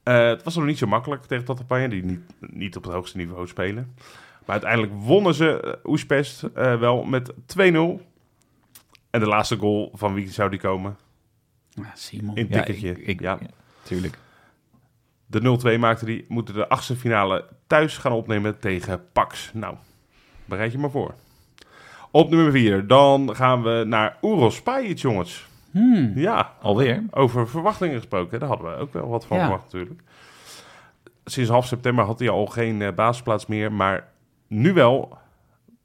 S1: Eh, het was nog niet zo makkelijk tegen Tattapanje, die niet, niet op het hoogste niveau spelen. Maar uiteindelijk wonnen ze eh, Oespest eh, wel met 2-0. En de laatste goal, van wie zou die komen?
S3: Ja, Simon.
S1: In
S2: Ja,
S1: tikketje.
S2: ik- ik-
S1: ja.
S2: ja, Tuurlijk.
S1: De 0-2 maakte die, moeten de achtste finale thuis gaan opnemen tegen Pax. Nou, bereid je maar voor. Op nummer 4, dan gaan we naar Uros Pajic, jongens.
S3: Hmm.
S1: Ja,
S2: Alweer?
S1: Over verwachtingen gesproken, daar hadden we ook wel wat van
S3: Ja.
S1: verwacht natuurlijk. Sinds half september had hij al geen eh, basisplaats meer, maar nu wel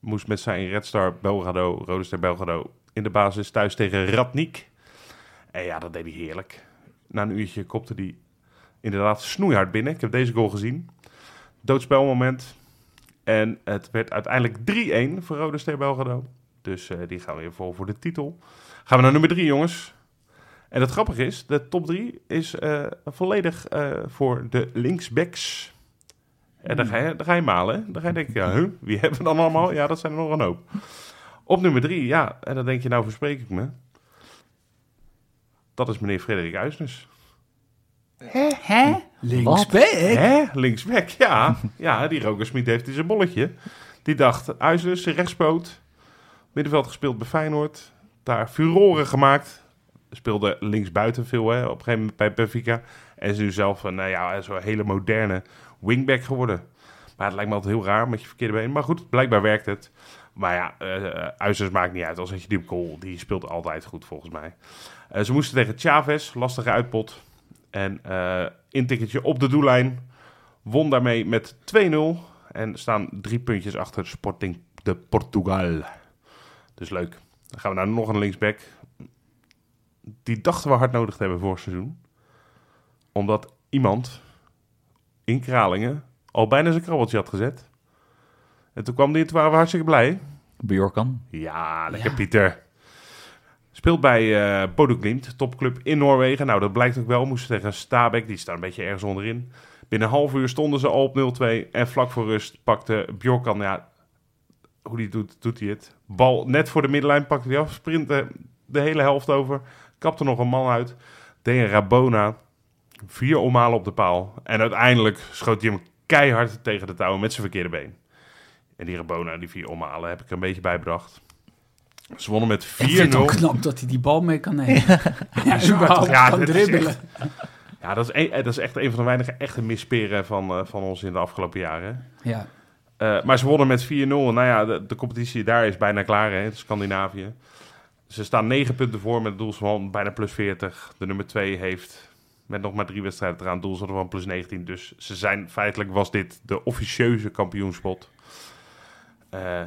S1: moest met zijn Red Star Belgrado, Rode Ster Belgrado, in de basis thuis tegen Radnik. En ja, dat deed hij heerlijk. Na een uurtje kopte hij inderdaad snoeihard binnen. Ik heb deze goal gezien. Doodspelmoment. En het werd uiteindelijk 3-1 voor Rode Ster Belgrado. Dus eh, die gaan we weer vol voor de titel. Gaan we naar nummer 3, jongens. En het grappige is, de top 3 is eh, volledig eh, voor de linksbacks. En dan ga, je, dan ga je malen. hè? Dan ga je denken, ja, huh, wie hebben we dan allemaal? Ja, dat zijn er nog een hoop. Op nummer 3, ja, en dan denk je, nou verspreek ik me. Dat is meneer Frederik Uisnes.
S3: Hè? Linksback?
S1: Hè? Linksback, ja. Ja, die Roger Smit heeft in zijn bolletje. Die dacht, Uisnes, rechtspoot. Middenveld gespeeld bij Feyenoord. Daar furoren gemaakt. Speelde linksbuiten veel, hè. Op een gegeven moment bij Benfica. En is nu zelf een, nou ja, zo'n hele moderne wingback geworden. Maar het lijkt me altijd heel raar met je verkeerde been. Maar goed, blijkbaar werkt het. Maar ja, eh Uisnes maakt niet uit. Als dat je die op goal, die speelt altijd goed volgens mij. Eh, ze moesten tegen Chavez, lastige uitpot. En eh intikketje op de doellijn. Won daarmee met 2-0. En staan drie puntjes achter Sporting de Portugal. Dus leuk. Dan gaan we naar nog een linksback. Die dachten we hard nodig te hebben vorig seizoen. Omdat iemand in Kralingen al bijna zijn krabbeltje had gezet. En toen kwam die en toen waren we hartstikke blij.
S2: Bjorkan.
S1: Ja, lekker
S3: Ja.
S1: Pieter. Speelt bij eh Bodø Glimt, topclub in Noorwegen. Nou, dat blijkt ook wel. Moesten tegen Stabæk, die staan een beetje ergens onderin. Binnen een half uur stonden ze al op 0-2. En vlak voor rust pakte Bjorkan, ja, hoe die doet, doet hij het. Bal net voor de middenlijn pakte hij af, sprintte de hele helft over. Kapte nog een man uit. Deed een Rabona. Vier omhalen op de paal. En uiteindelijk schoot hij hem keihard tegen de touwen met zijn verkeerde been. En die Rabona, die vier omhalen, heb ik er een beetje bijbracht. Ze wonnen met 4-0.
S3: Ik vind het ook knap dat hij die bal mee kan nemen. Ja, überhaupt
S1: Ja,
S3: kan
S1: dit is
S3: dribbelen.
S1: echt- Ja, dat is, een- eh, dat is echt een van de weinige echte misperen van, eh, van ons in de afgelopen jaren.
S3: Ja.
S1: Eh, maar ze wonnen met 4-0. Nou ja, de, de competitie daar is bijna klaar, hè, Scandinavië. Ze staan 9 punten voor met een doelsaldo van bijna plus 40. De nummer 2 heeft met nog maar drie wedstrijden eraan doelsaldo van plus 19. Dus ze zijn feitelijk was dit de officieuze kampioenspot. Eh,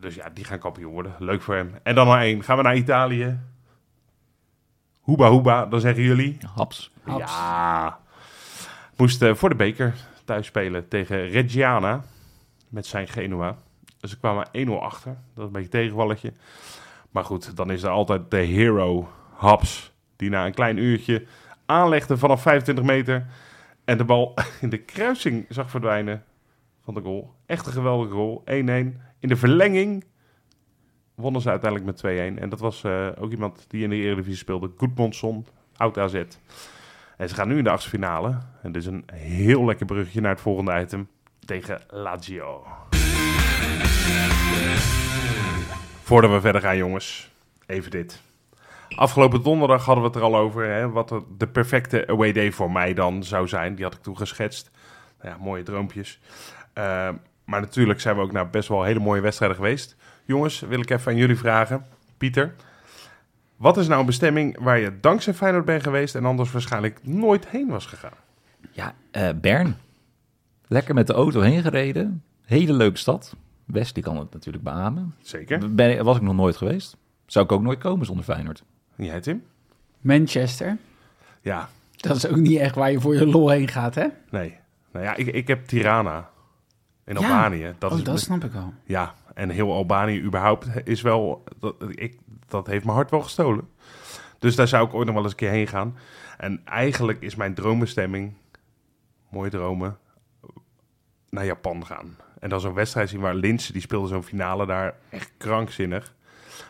S1: dus ja, die gaan kampioen worden. Leuk voor hem. En dan maar één. Gaan we naar Italië. Hoeba hoeba, dan zeggen jullie.
S2: Haps.
S3: Abs.
S1: Ja. Ah. Moest eh, voor de beker thuis spelen tegen Reggiana met zijn Genua. Ze kwamen 1-0 achter. Dat is een beetje een tegenvalletje. Maar goed, dan is er altijd de hero Haps. Die na een klein uurtje aanlegde vanaf 25 meter. En de bal in de kruising zag verdwijnen van de goal. Echt een geweldige goal. 1-1. In de verlenging wonnen ze uiteindelijk met 2-1. En dat was eh, ook iemand die in de Eredivisie speelde. Goedmondson, oud AZ. En ze gaan nu in de achtste finale. En dit is een heel lekker bruggetje naar het volgende item. Tegen Lazio. Voordat we verder gaan, jongens. Even dit. Afgelopen donderdag hadden we het er al over. Hè, wat er de perfecte away day voor mij dan zou zijn. Die had ik toen geschetst. Nou ja, mooie droompjes. Eh, maar natuurlijk zijn we ook naar best wel hele mooie wedstrijden geweest. Jongens, wil ik even aan jullie vragen. Pieter, wat is nou een bestemming waar je dankzij Feyenoord bent geweest en anders waarschijnlijk nooit heen was gegaan?
S2: Ja, eh, Bern. Lekker met de auto heen gereden. Hele leuke stad. West, die kan het natuurlijk beamen.
S1: Zeker.
S2: Ben, was ik nog nooit geweest. Zou ik ook nooit komen zonder Feyenoord.
S1: En jij, Tim?
S3: Manchester.
S1: Ja,
S3: Dat is ook niet echt waar je voor je lol heen gaat, hè?
S1: nee. Nou ja, ik, ik heb Tirana in Albanië. Dat
S3: oh,
S1: is,
S3: dat snap ik al.
S1: Ja, en heel Albanië überhaupt is wel... Dat, ik, dat heeft mijn hart wel gestolen. Dus daar zou ik ooit nog wel eens een keer heen gaan. En eigenlijk is mijn droombestemming, mooie dromen, naar Japan gaan. En dan zo'n wedstrijd zien waar Linse, die speelde zo'n finale daar, echt krankzinnig.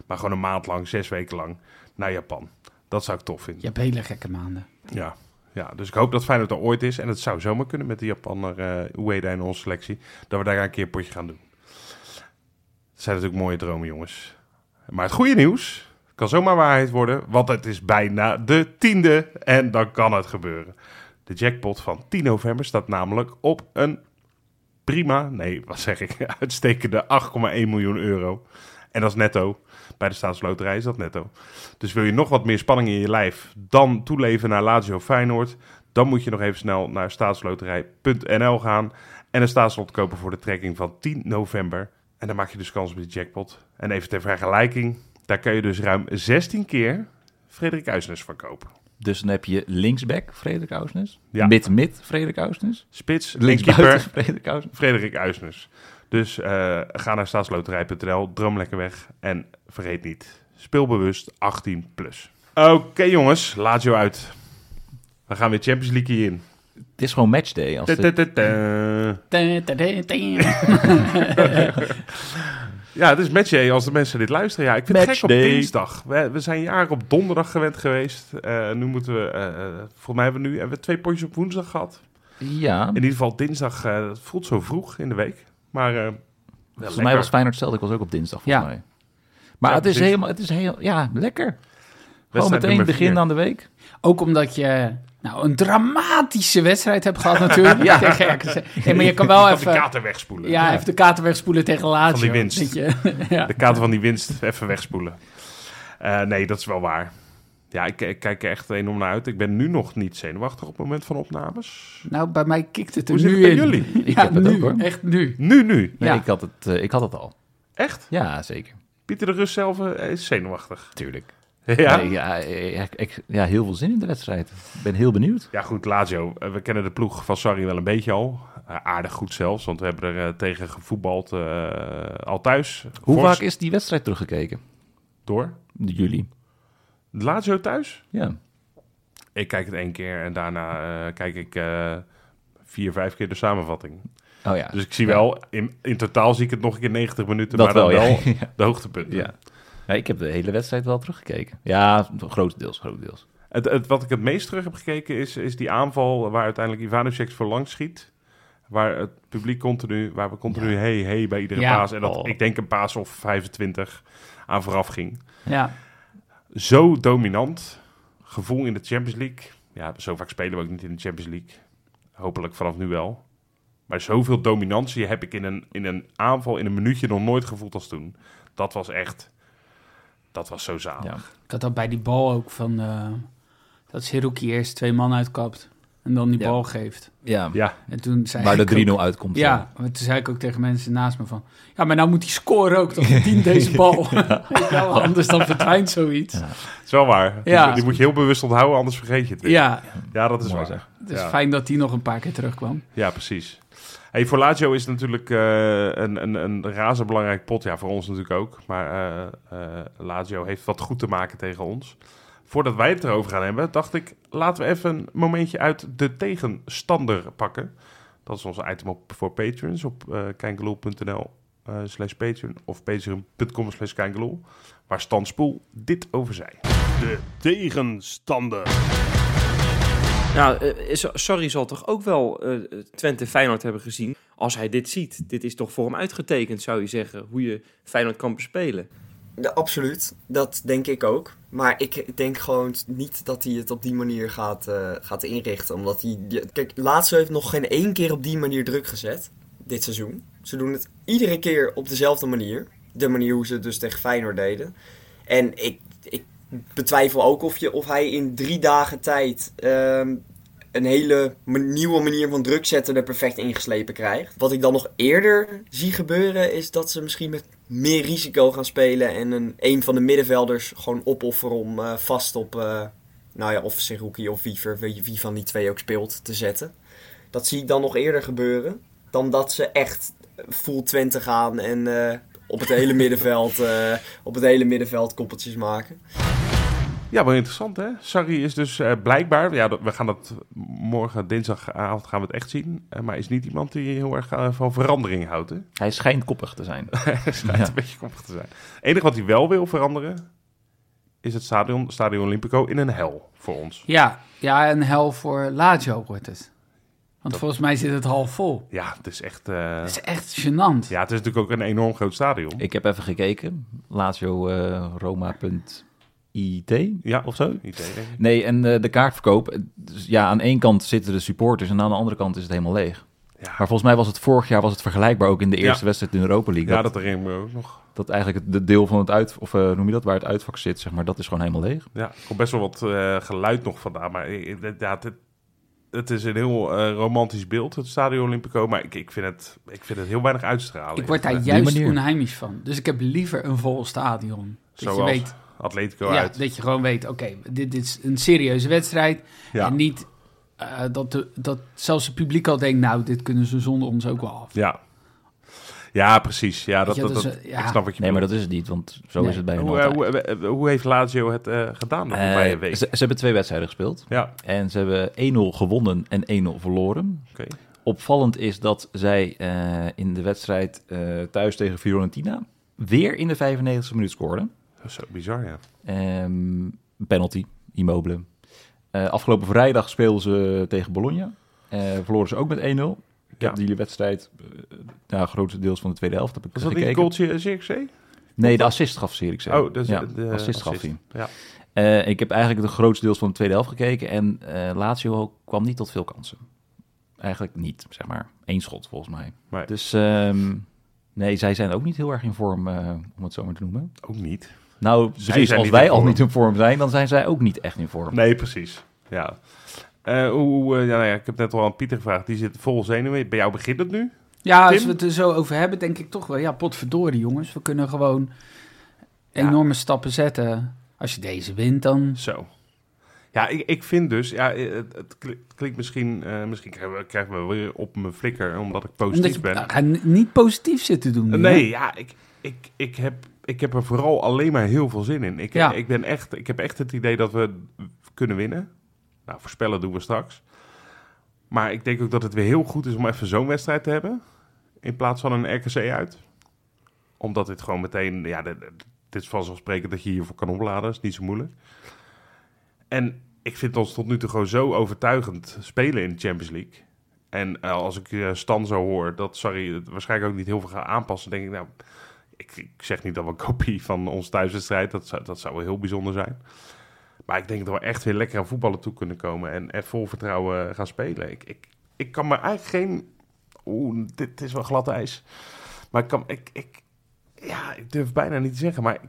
S1: Maar gewoon een maand lang, zes weken lang, naar Japan. Dat zou ik tof vinden.
S3: Je hebt hele gekke maanden.
S1: Ja, ja dus ik hoop dat Feyenoord er ooit is. En het zou zomaar kunnen met de Japaner eh Ueda in onze selectie. Dat we daar een keer een potje gaan doen. Het zijn natuurlijk mooie dromen, jongens. Maar het goede nieuws kan zomaar waarheid worden. Want het is bijna de tiende. En dan kan het gebeuren. De jackpot van 10 november staat namelijk op een prima, nee, wat zeg ik, uitstekende 8,1 miljoen euro. En dat is netto. Bij de staatsloterij is dat netto. Dus wil je nog wat meer spanning in je lijf dan toeleven naar Lazio Feyenoord, dan moet je nog even snel naar staatsloterij.nl gaan en een staatslot kopen voor de trekking van 10 november. En dan maak je dus kans op die jackpot. En even ter vergelijking, daar kan je dus ruim 16 keer Frederik Uisnes van kopen.
S2: Dus dan heb je linksback Frederik Ousnes.
S1: Ja.
S2: Mid-mid Frederik Ousnes.
S1: Spits,
S2: Linksbuiten
S1: linkkeeper,
S2: Frederik Ousnes.
S1: Frederik Uisnes. Dus eh, ga naar staatsloterij.nl, droom lekker weg en vergeet niet, speelbewust 18+. Plus. Oké jongens, laat je uit. We gaan weer Champions League in.
S2: Het is gewoon matchday. Als dit-
S3: Ta- ta- ta- ta.
S1: Ja, het is matchday als de mensen dit luisteren. Ja, ik vind het gek op
S2: Matchday.
S1: dinsdag. We, we zijn jaren op donderdag gewend geweest. Eh, nu moeten we, eh, eh, volgens mij hebben we nu hebben we twee potjes op woensdag gehad.
S2: Ja,
S1: In ieder geval dinsdag, eh, het voelt zo vroeg in de week. Maar eh, wel
S2: volgens mij
S1: lekker.
S2: was Feyenoord zelf. Ik was ook op dinsdag volgens
S3: Ja.
S2: mij. Maar
S1: Ja,
S2: het is
S1: precies.
S2: helemaal, het is heel, ja, lekker. Gewoon
S1: Wedstrijd
S2: meteen
S1: nummer
S2: begin
S1: vier.
S2: aan de week.
S3: Ook omdat je nou, een dramatische wedstrijd hebt gehad natuurlijk tegen RKC. Nee, maar je kan wel
S1: kan de
S3: even,
S1: kater wegspoelen.
S3: ja, even de kater wegspoelen tegen Lazio.
S1: Van die winst.
S3: weet je. ja.
S1: De kater van die winst even wegspoelen. Eh, nee, dat is wel waar. Ja, ik, ik kijk er echt enorm naar uit. Ik ben nu nog niet zenuwachtig op het moment van opnames.
S3: Nou, bij mij kikt het er
S1: Hoe zit
S3: nu
S1: het bij
S3: in.
S1: jullie?
S3: Ja,
S2: heb het
S3: nu,
S2: ook, hoor.
S3: echt nu.
S1: Nu, nu.
S2: Nee,
S3: Ja.
S2: ik, had het, eh, ik had het al.
S1: Echt?
S2: Ja, zeker.
S1: Pieter de Rus zelf eh, is zenuwachtig.
S2: Tuurlijk.
S1: Ja.
S2: Nee, ja, eh, ik, ik- ja, heel veel zin in de wedstrijd. Ik ben heel benieuwd.
S1: Ja, goed, Lazio. eh, We kennen de ploeg van Sarri wel een beetje al. Eh, aardig goed zelfs, want we hebben er eh, tegen gevoetbald eh, al thuis.
S2: Hoe
S1: Vorst
S2: vaak is die wedstrijd teruggekeken?
S1: Door.
S2: Jullie.
S1: Lazio thuis?
S2: Ja.
S1: Ik kijk het één keer en daarna eh, kijk ik eh, vier, vijf keer de samenvatting.
S2: Oh ja.
S1: Dus ik zie wel, in, in totaal zie ik het nog een keer 90 minuten,
S2: Dat
S1: maar dan
S2: wel,
S1: wel
S2: ja. Ja.
S1: de hoogtepunten.
S2: ja. Ja, ik heb de hele wedstrijd wel teruggekeken. Ja, grotendeels, grotendeels.
S1: Het, het, wat ik het meest terug heb gekeken is, is die aanval waar uiteindelijk Ivanovic voor langs schiet. Waar het publiek continu, waar we continu hey, hey bij iedere
S3: Ja.
S1: paas. En dat
S2: Oh.
S1: ik denk een paas of 25 aan vooraf ging.
S3: Ja.
S1: Zo dominant gevoel in de Champions League. Ja, zo vaak spelen we ook niet in de Champions League. Hopelijk vanaf nu wel. Maar zoveel dominantie heb ik in een, in een aanval, in een minuutje nog nooit gevoeld als toen. Dat was echt, dat was zo zalig.
S2: Ja.
S3: Ik had dat bij die bal ook van eh, dat Seruki eerst twee man uitkapt en dan die
S2: Ja.
S3: bal geeft.
S2: Ja,
S1: ja.
S3: En toen zei
S2: waar
S3: ik
S2: de 3-0
S3: ook-
S2: uitkomt.
S3: Ja, maar toen zei ik ook tegen mensen naast me van... Ja, maar nou moet hij scoren ook, dan verdient deze bal. Weet je wel, anders dan verdwijnt zoiets. Ja,
S1: Het is wel waar. Die-
S3: Ja.
S1: Die, moet je heel bewust onthouden, anders vergeet je het weer. Ja, dat is
S2: Mooi
S1: waar.
S2: zeg.
S3: het is
S1: Ja.
S3: fijn dat hij nog een paar keer terugkwam.
S1: Ja, precies. Hey, voor Lazio is het natuurlijk eh, een, een, een razend belangrijk pot. Ja, voor ons natuurlijk ook. Maar eh, eh, Lazio heeft wat goed te maken tegen ons. Voordat wij het erover gaan hebben, dacht ik... laten we even een momentje uit de tegenstander pakken. Dat is ons item op, voor patrons op eh kijngeloel.nl eh, slash patreon... of patreon.com slash kijngeloel, waar Stan Spoel dit over zei. De tegenstander.
S7: Nou, eh, Sa- Sarri zal toch ook wel eh, Twente Feyenoord hebben gezien. Als hij dit ziet, dit is toch voor hem uitgetekend, zou je zeggen, hoe je Feyenoord kan bespelen.
S8: Ja, absoluut, dat denk ik ook. Maar ik denk gewoon niet dat hij het op die manier gaat, eh, gaat inrichten. Omdat hij. die- Kijk, Lazio heeft nog geen één keer op die manier druk gezet. Dit seizoen. Ze doen het iedere keer op dezelfde manier. De manier hoe ze het dus tegen Feyenoord deden. En ik, ik betwijfel ook of, je, of hij in drie dagen tijd. ehm, een hele ma- nieuwe manier van druk zetten er perfect ingeslepen krijgt. Wat ik dan nog eerder zie gebeuren is dat ze misschien met meer risico gaan spelen en een, een van de middenvelders gewoon opofferen om eh, vast op, eh, nou ja, of Seruki of Wiever, wie, wie van die twee ook speelt, te zetten. Dat zie ik dan nog eerder gebeuren dan dat ze echt full Twente gaan en eh, op het hele middenveld, eh, op het hele middenveld koppeltjes maken.
S1: Ja, wel interessant hè. Sarri is dus eh, blijkbaar, ja, dat- we gaan dat morgen dinsdagavond gaan we het echt zien, eh, maar is niet iemand die heel erg eh, van verandering houdt. Hè?
S2: Hij schijnt koppig te zijn.
S1: Hij schijnt
S2: Ja.
S1: een beetje koppig te zijn. Het enige wat hij wel wil veranderen is het stadion, stadion Olympico in een hel voor ons.
S3: Ja, ja en hel voor Lazio wordt het. Want volgens mij zit het half vol.
S1: Ja, het is echt. eh,
S3: Dat is echt gênant.
S1: ja, het is natuurlijk ook een enorm groot stadion.
S2: Ik heb even gekeken. Lazio eh, Roma.it
S1: Ja.
S2: of zo.
S1: Niet tegen.
S2: Nee, en eh, de kaartverkoop. eh, dus ja, aan één kant zitten de supporters en aan de andere kant is het helemaal leeg.
S1: Ja.
S2: Maar volgens mij was het vorig jaar was het vergelijkbaar ook in de eerste
S1: Ja.
S2: wedstrijd in de Europa League.
S1: Ja,
S2: dat,
S1: dat erin ook nog.
S2: dat eigenlijk het de deel van het uit, of eh, noem je dat, waar het uitvak zit, zeg maar, dat is gewoon helemaal leeg.
S1: Ja, er komt best wel wat eh, geluid nog vandaan. Maar eh, eh, ja, het, het is een heel eh, romantisch beeld, het Stadio Olympico. Maar ik, ik, vind het, ik vind het heel weinig uitstralen.
S3: Ik word daar
S1: Eh,
S3: juist
S2: manier.
S3: onheimisch van. Dus ik heb liever een vol stadion. Dat
S1: Zoals
S3: je weet,
S1: Atletico
S3: ja,
S1: uit.
S3: dat je gewoon weet, oké, dit, dit is een serieuze wedstrijd.
S1: Ja.
S3: En niet eh, dat, de, dat zelfs het publiek al denkt, nou, dit kunnen ze zonder ons ook wel af.
S1: Ja. ja, precies. Ja, dat,
S3: je,
S1: dat,
S3: dat
S1: dat-
S3: is, eh, ja.
S1: Ik snap wat je
S2: Nee, maar
S1: bedoelt.
S2: dat is het niet, want zo
S3: Nee.
S2: is het bij hun
S1: Hoe, eh,
S2: altijd.
S1: hoe, eh, hoe heeft Lazio het eh, gedaan de
S2: Eh,
S1: voorbije week?
S2: ze, ze hebben twee wedstrijden gespeeld
S1: Ja,
S2: en ze hebben 1-0 gewonnen en 1-0 verloren.
S1: oké.
S2: Opvallend is dat zij eh, in de wedstrijd eh, thuis tegen Fiorentina weer in de 95e minuut scoorden.
S1: Zo bizar, ja.
S2: Ehm, een penalty, Immobile. Eh, afgelopen vrijdag speelden ze tegen Bologna. Eh, verloren ze ook met 1-0. Ik
S1: Ja.
S2: heb die wedstrijd, eh, nou, grotendeels van de tweede helft, heb ik
S1: Was dat niet
S2: gekeken.
S1: een goaltje CXC?
S2: Nee, de assist gaf Serik ze.
S1: Oh, dus
S2: ja,
S1: de,
S2: de assist gaf hij.
S1: Ja.
S2: Eh, ik heb eigenlijk de grootste deels van de tweede helft gekeken. En eh Lazio kwam niet tot veel kansen. Eigenlijk niet, zeg maar. Eén schot, volgens mij.
S1: Nee.
S2: Dus ehm, nee, zij zijn ook niet heel erg in vorm, eh, om het zo maar te noemen.
S1: Ook niet.
S2: Nou, precies.
S1: zijn
S2: Als
S1: niet in
S2: wij al
S1: vorm.
S2: niet in vorm zijn, dan zijn zij ook niet echt in vorm.
S1: Nee, precies. Ja. Eh, hoe, eh, ja, nou ja, ik heb net al aan Pieter gevraagd. Die zit vol zenuwen. Bij jou begint het nu?
S3: Ja, als
S1: Tim?
S3: we het er zo over hebben, denk ik toch wel. Ja, potverdorie jongens. We kunnen gewoon enorme stappen zetten. Als je deze wint, dan...
S1: Zo. Ja, ik, ik vind dus... Ja, eh, het, het kli- het klinkt misschien... eh, misschien krijgen we, krijgen we weer op mijn flikker, omdat ik positief
S3: Omdat je Ah,
S1: ben.
S3: nou, ga n- niet positief zit te doen. nu,
S1: nee,
S3: hè?
S1: ja, ik, ik, ik, heb, ik heb er vooral alleen maar heel veel zin in. Ik,
S3: Ja.
S1: ik, ben echt, ik heb echt het idee dat we kunnen winnen. Nou, voorspellen doen we straks. Maar ik denk ook dat het weer heel goed is om even zo'n wedstrijd te hebben. In plaats van een RKC uit. Omdat dit gewoon meteen... Ja, dit, dit is vanzelfsprekend dat je hiervoor kan opladen. is niet zo moeilijk. En ik vind ons tot nu toe gewoon zo overtuigend spelen in de Champions League. En eh, als ik eh, Stan zo hoor dat Sarri het waarschijnlijk ook niet heel veel gaat aanpassen, denk ik nou, ik, ik zeg niet dat we een kopie van ons thuiswedstrijd, dat zou, dat zou wel heel bijzonder zijn. Maar ik denk dat we echt weer lekker aan voetballen toe kunnen komen en echt vol vertrouwen gaan spelen. Ik, ik, ik kan me eigenlijk geen... Oeh, dit is wel glad ijs. Maar ik kan... Ik, ik, ja, ik durf bijna niet te zeggen, maar ik,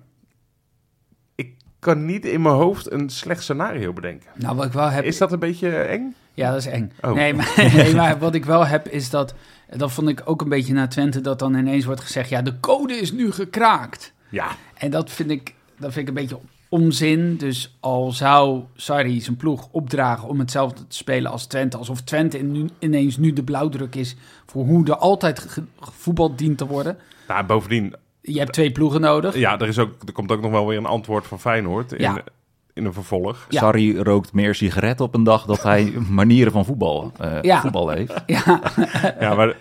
S1: ik kan niet in mijn hoofd een slecht scenario bedenken.
S3: Nou, wat ik wel heb...
S1: Is dat een beetje eng?
S3: Ja, dat is eng.
S1: Oh.
S3: Nee, maar, nee, maar wat ik wel heb is dat... Dat vond ik ook een beetje na Twente, dat dan ineens wordt gezegd... Ja, de code is nu gekraakt.
S1: Ja.
S3: En dat vind ik, dat vind ik een beetje onzin. Dus al zou Sarri zijn ploeg opdragen om hetzelfde te spelen als Twente... alsof Twente in- nu- ineens nu de blauwdruk is voor hoe er altijd ge- gevoetbald dient te worden.
S1: Nou, en bovendien,
S3: Je hebt twee ploegen nodig.
S1: ja, er, is ook, er komt ook nog wel weer een antwoord van Feyenoord in,
S3: Ja.
S1: in een vervolg.
S3: Ja.
S2: Sarri rookt meer sigaretten op een dag dat hij manieren van voetbal, eh,
S3: Ja.
S2: voetbal heeft.
S3: Ja.
S1: Ja, maar...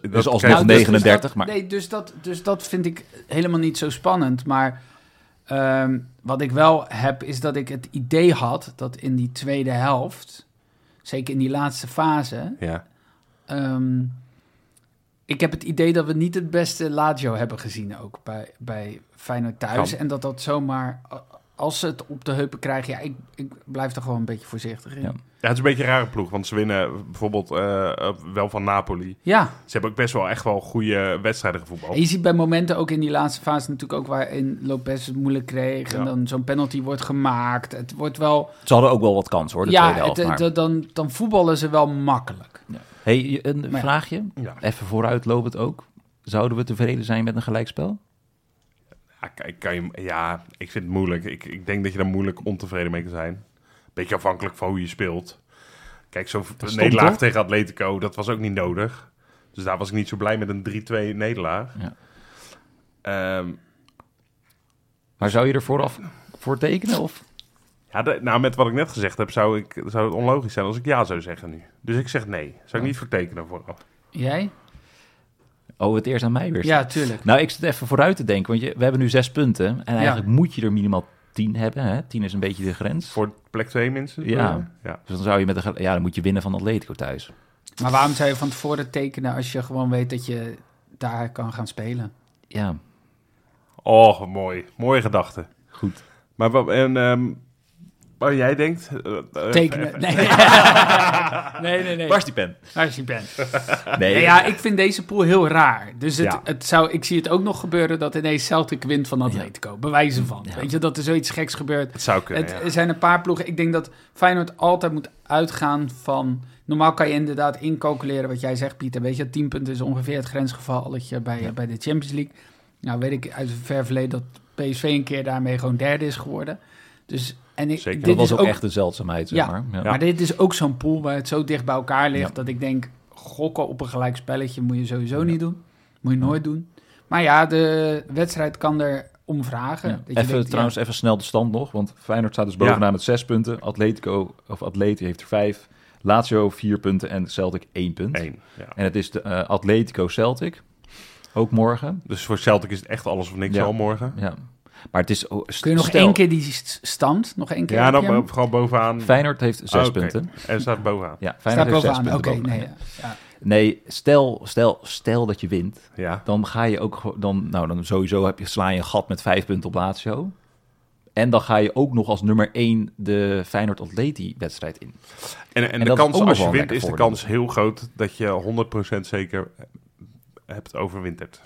S1: Dat
S2: Dus als
S1: krijg-
S2: Nou, 39,
S3: dat,
S2: maar-
S3: Nee, dus dat, dus dat vind ik helemaal niet zo spannend. Maar ehm, wat ik wel heb, is dat ik het idee had dat in die tweede helft, zeker in die laatste fase,
S1: Ja.
S3: ehm, ik heb het idee dat we niet het beste Lazio hebben gezien ook bij, bij Feyenoord thuis.
S1: Kan.
S3: En dat dat zomaar, a- als ze het op de heupen krijgen, ja, ik, ik blijf er gewoon een beetje voorzichtig in.
S2: Ja.
S1: Ja,
S3: Ja,
S1: het is een beetje een rare ploeg, want ze winnen bijvoorbeeld eh, eh, wel van Napoli. Ze hebben ook best wel echt wel goede wedstrijden gevoetbald.
S3: En je ziet bij momenten ook in die laatste fase natuurlijk ook waarin Lopez het moeilijk kreeg.
S1: Ja.
S3: En dan zo'n penalty wordt gemaakt. Het wordt wel...
S2: Ze hadden ook wel wat kans hoor, de
S3: ja,
S2: tweede helft.
S3: het- eh,
S2: maar-
S3: het- dan, dan voetballen ze wel makkelijk.
S2: Hey, je- een
S3: Maar-
S2: vraagje,
S1: Ja.
S2: even vooruitlopend ook. Zouden we tevreden zijn met een gelijkspel?
S1: Ja, kijk, kan je, ja, ik vind het moeilijk. Ik, ik denk dat je daar moeilijk ontevreden mee kan zijn. Beetje afhankelijk van hoe je speelt. Kijk, zo'n
S2: is stom,
S1: nederlaag
S2: toch?
S1: tegen Atletico, dat was ook niet nodig. Dus daar was ik niet zo blij met een 3-2 nederlaag.
S2: Ja.
S1: Ehm,
S2: Maar zou je er vooraf voor tekenen? Of?
S1: ja, de- nou, met wat ik net gezegd heb, zou, ik, zou het onlogisch zijn als ik ja zou zeggen nu. Dus ik zeg nee. Zou ik niet vertekenen vooraf.
S3: Jij?
S2: Oh, het eerst aan mij weer.
S3: Ja, tuurlijk.
S2: Nou, ik zit even vooruit te denken, want je, we hebben nu zes punten. En eigenlijk moet je er minimaal tien hebben. Hè? Tien is een beetje de grens.
S1: Voor plek 2 minstens?
S2: Ja.
S1: ja.
S2: Dus dan zou je met een, gel- ja, dan moet je winnen van Atletico thuis.
S3: Maar waarom zou je van tevoren tekenen als je gewoon weet dat je daar kan gaan spelen?
S2: Ja,
S1: Oh, mooi. Mooie gedachte.
S2: goed.
S1: Maar wat, en, ehm, waar jij denkt... eh, eh,
S3: Tekenen? Nee. nee, nee, nee.
S2: Waar is die pen?
S3: Waar is die pen?
S2: Nee,
S3: Nee, ja, ik vind deze pool heel raar. Dus het,
S1: Ja.
S3: het zou, ik zie het ook nog gebeuren dat ineens Celtic wint van Atletico. Bewijzen van. Weet je, dat er zoiets geks gebeurt.
S1: Het zou kunnen,
S3: het,
S1: ja.
S3: Er zijn een paar ploegen. Ik denk dat Feyenoord altijd moet uitgaan van... Normaal kan je inderdaad incalculeren wat jij zegt, Pieter. Weet je, 10 punten is ongeveer het grensgevalletje bij, bij de Champions League. Nou weet ik uit het ver verleden dat PSV een keer daarmee gewoon derde is geworden. Dus, en ik,
S1: Zeker.
S3: dit
S2: dat was
S3: is
S2: ook,
S3: ook
S2: echt een zeldzaamheid, zeg
S3: Ja.
S2: maar. Ja.
S3: maar dit is ook zo'n pool waar het zo dicht bij elkaar ligt
S2: Ja.
S3: dat ik denk: gokken op een gelijk spelletje moet je sowieso niet doen. Moet je nooit doen. Maar ja, de wedstrijd kan er om vragen.
S2: Ja.
S3: Dat je
S2: Even
S3: denkt,
S2: trouwens, even snel de stand nog. Want Feyenoord staat dus bovenaan met zes punten. Atletico, of Atleti heeft er vijf. Lazio vier punten en Celtic één punt.
S1: Eén, ja.
S2: En het is de eh, Atletico Celtic. Ook morgen.
S1: Dus voor Celtic is het echt alles of niks
S2: Ja.
S1: al morgen.
S2: Ja. Maar het is... oh,
S3: Ja. Kun je nog
S2: stel-
S3: één keer die st- stand? Nog één keer?
S1: Ja,
S3: heb
S1: dan
S3: je hem?
S1: bo- gewoon bovenaan.
S2: Feyenoord heeft zes
S1: Ah, oké.
S2: punten.
S1: En staat bovenaan.
S2: Ja,
S3: Oh, Staat
S2: Feyenoord heeft zes
S3: bovenaan.
S2: punten.
S3: Oké,
S2: bovenaan.
S3: nee. Ja. Ja.
S2: Nee, stel, stel, stel dat je wint.
S1: Ja.
S2: Dan ga je ook gewoon- dan, nou, dan sowieso heb je, sla je een gat met vijf punten op Lazio. En dan ga je ook nog als nummer één de Feyenoord-Atleti-wedstrijd in.
S1: En, en,
S2: dat
S1: de
S2: is
S1: kans,
S2: ook nog
S1: als
S2: wel
S1: je
S2: een
S1: wint,
S2: lekker
S1: is de
S2: voordeel.
S1: kans heel groot dat je 100% zeker hebt overwinterd.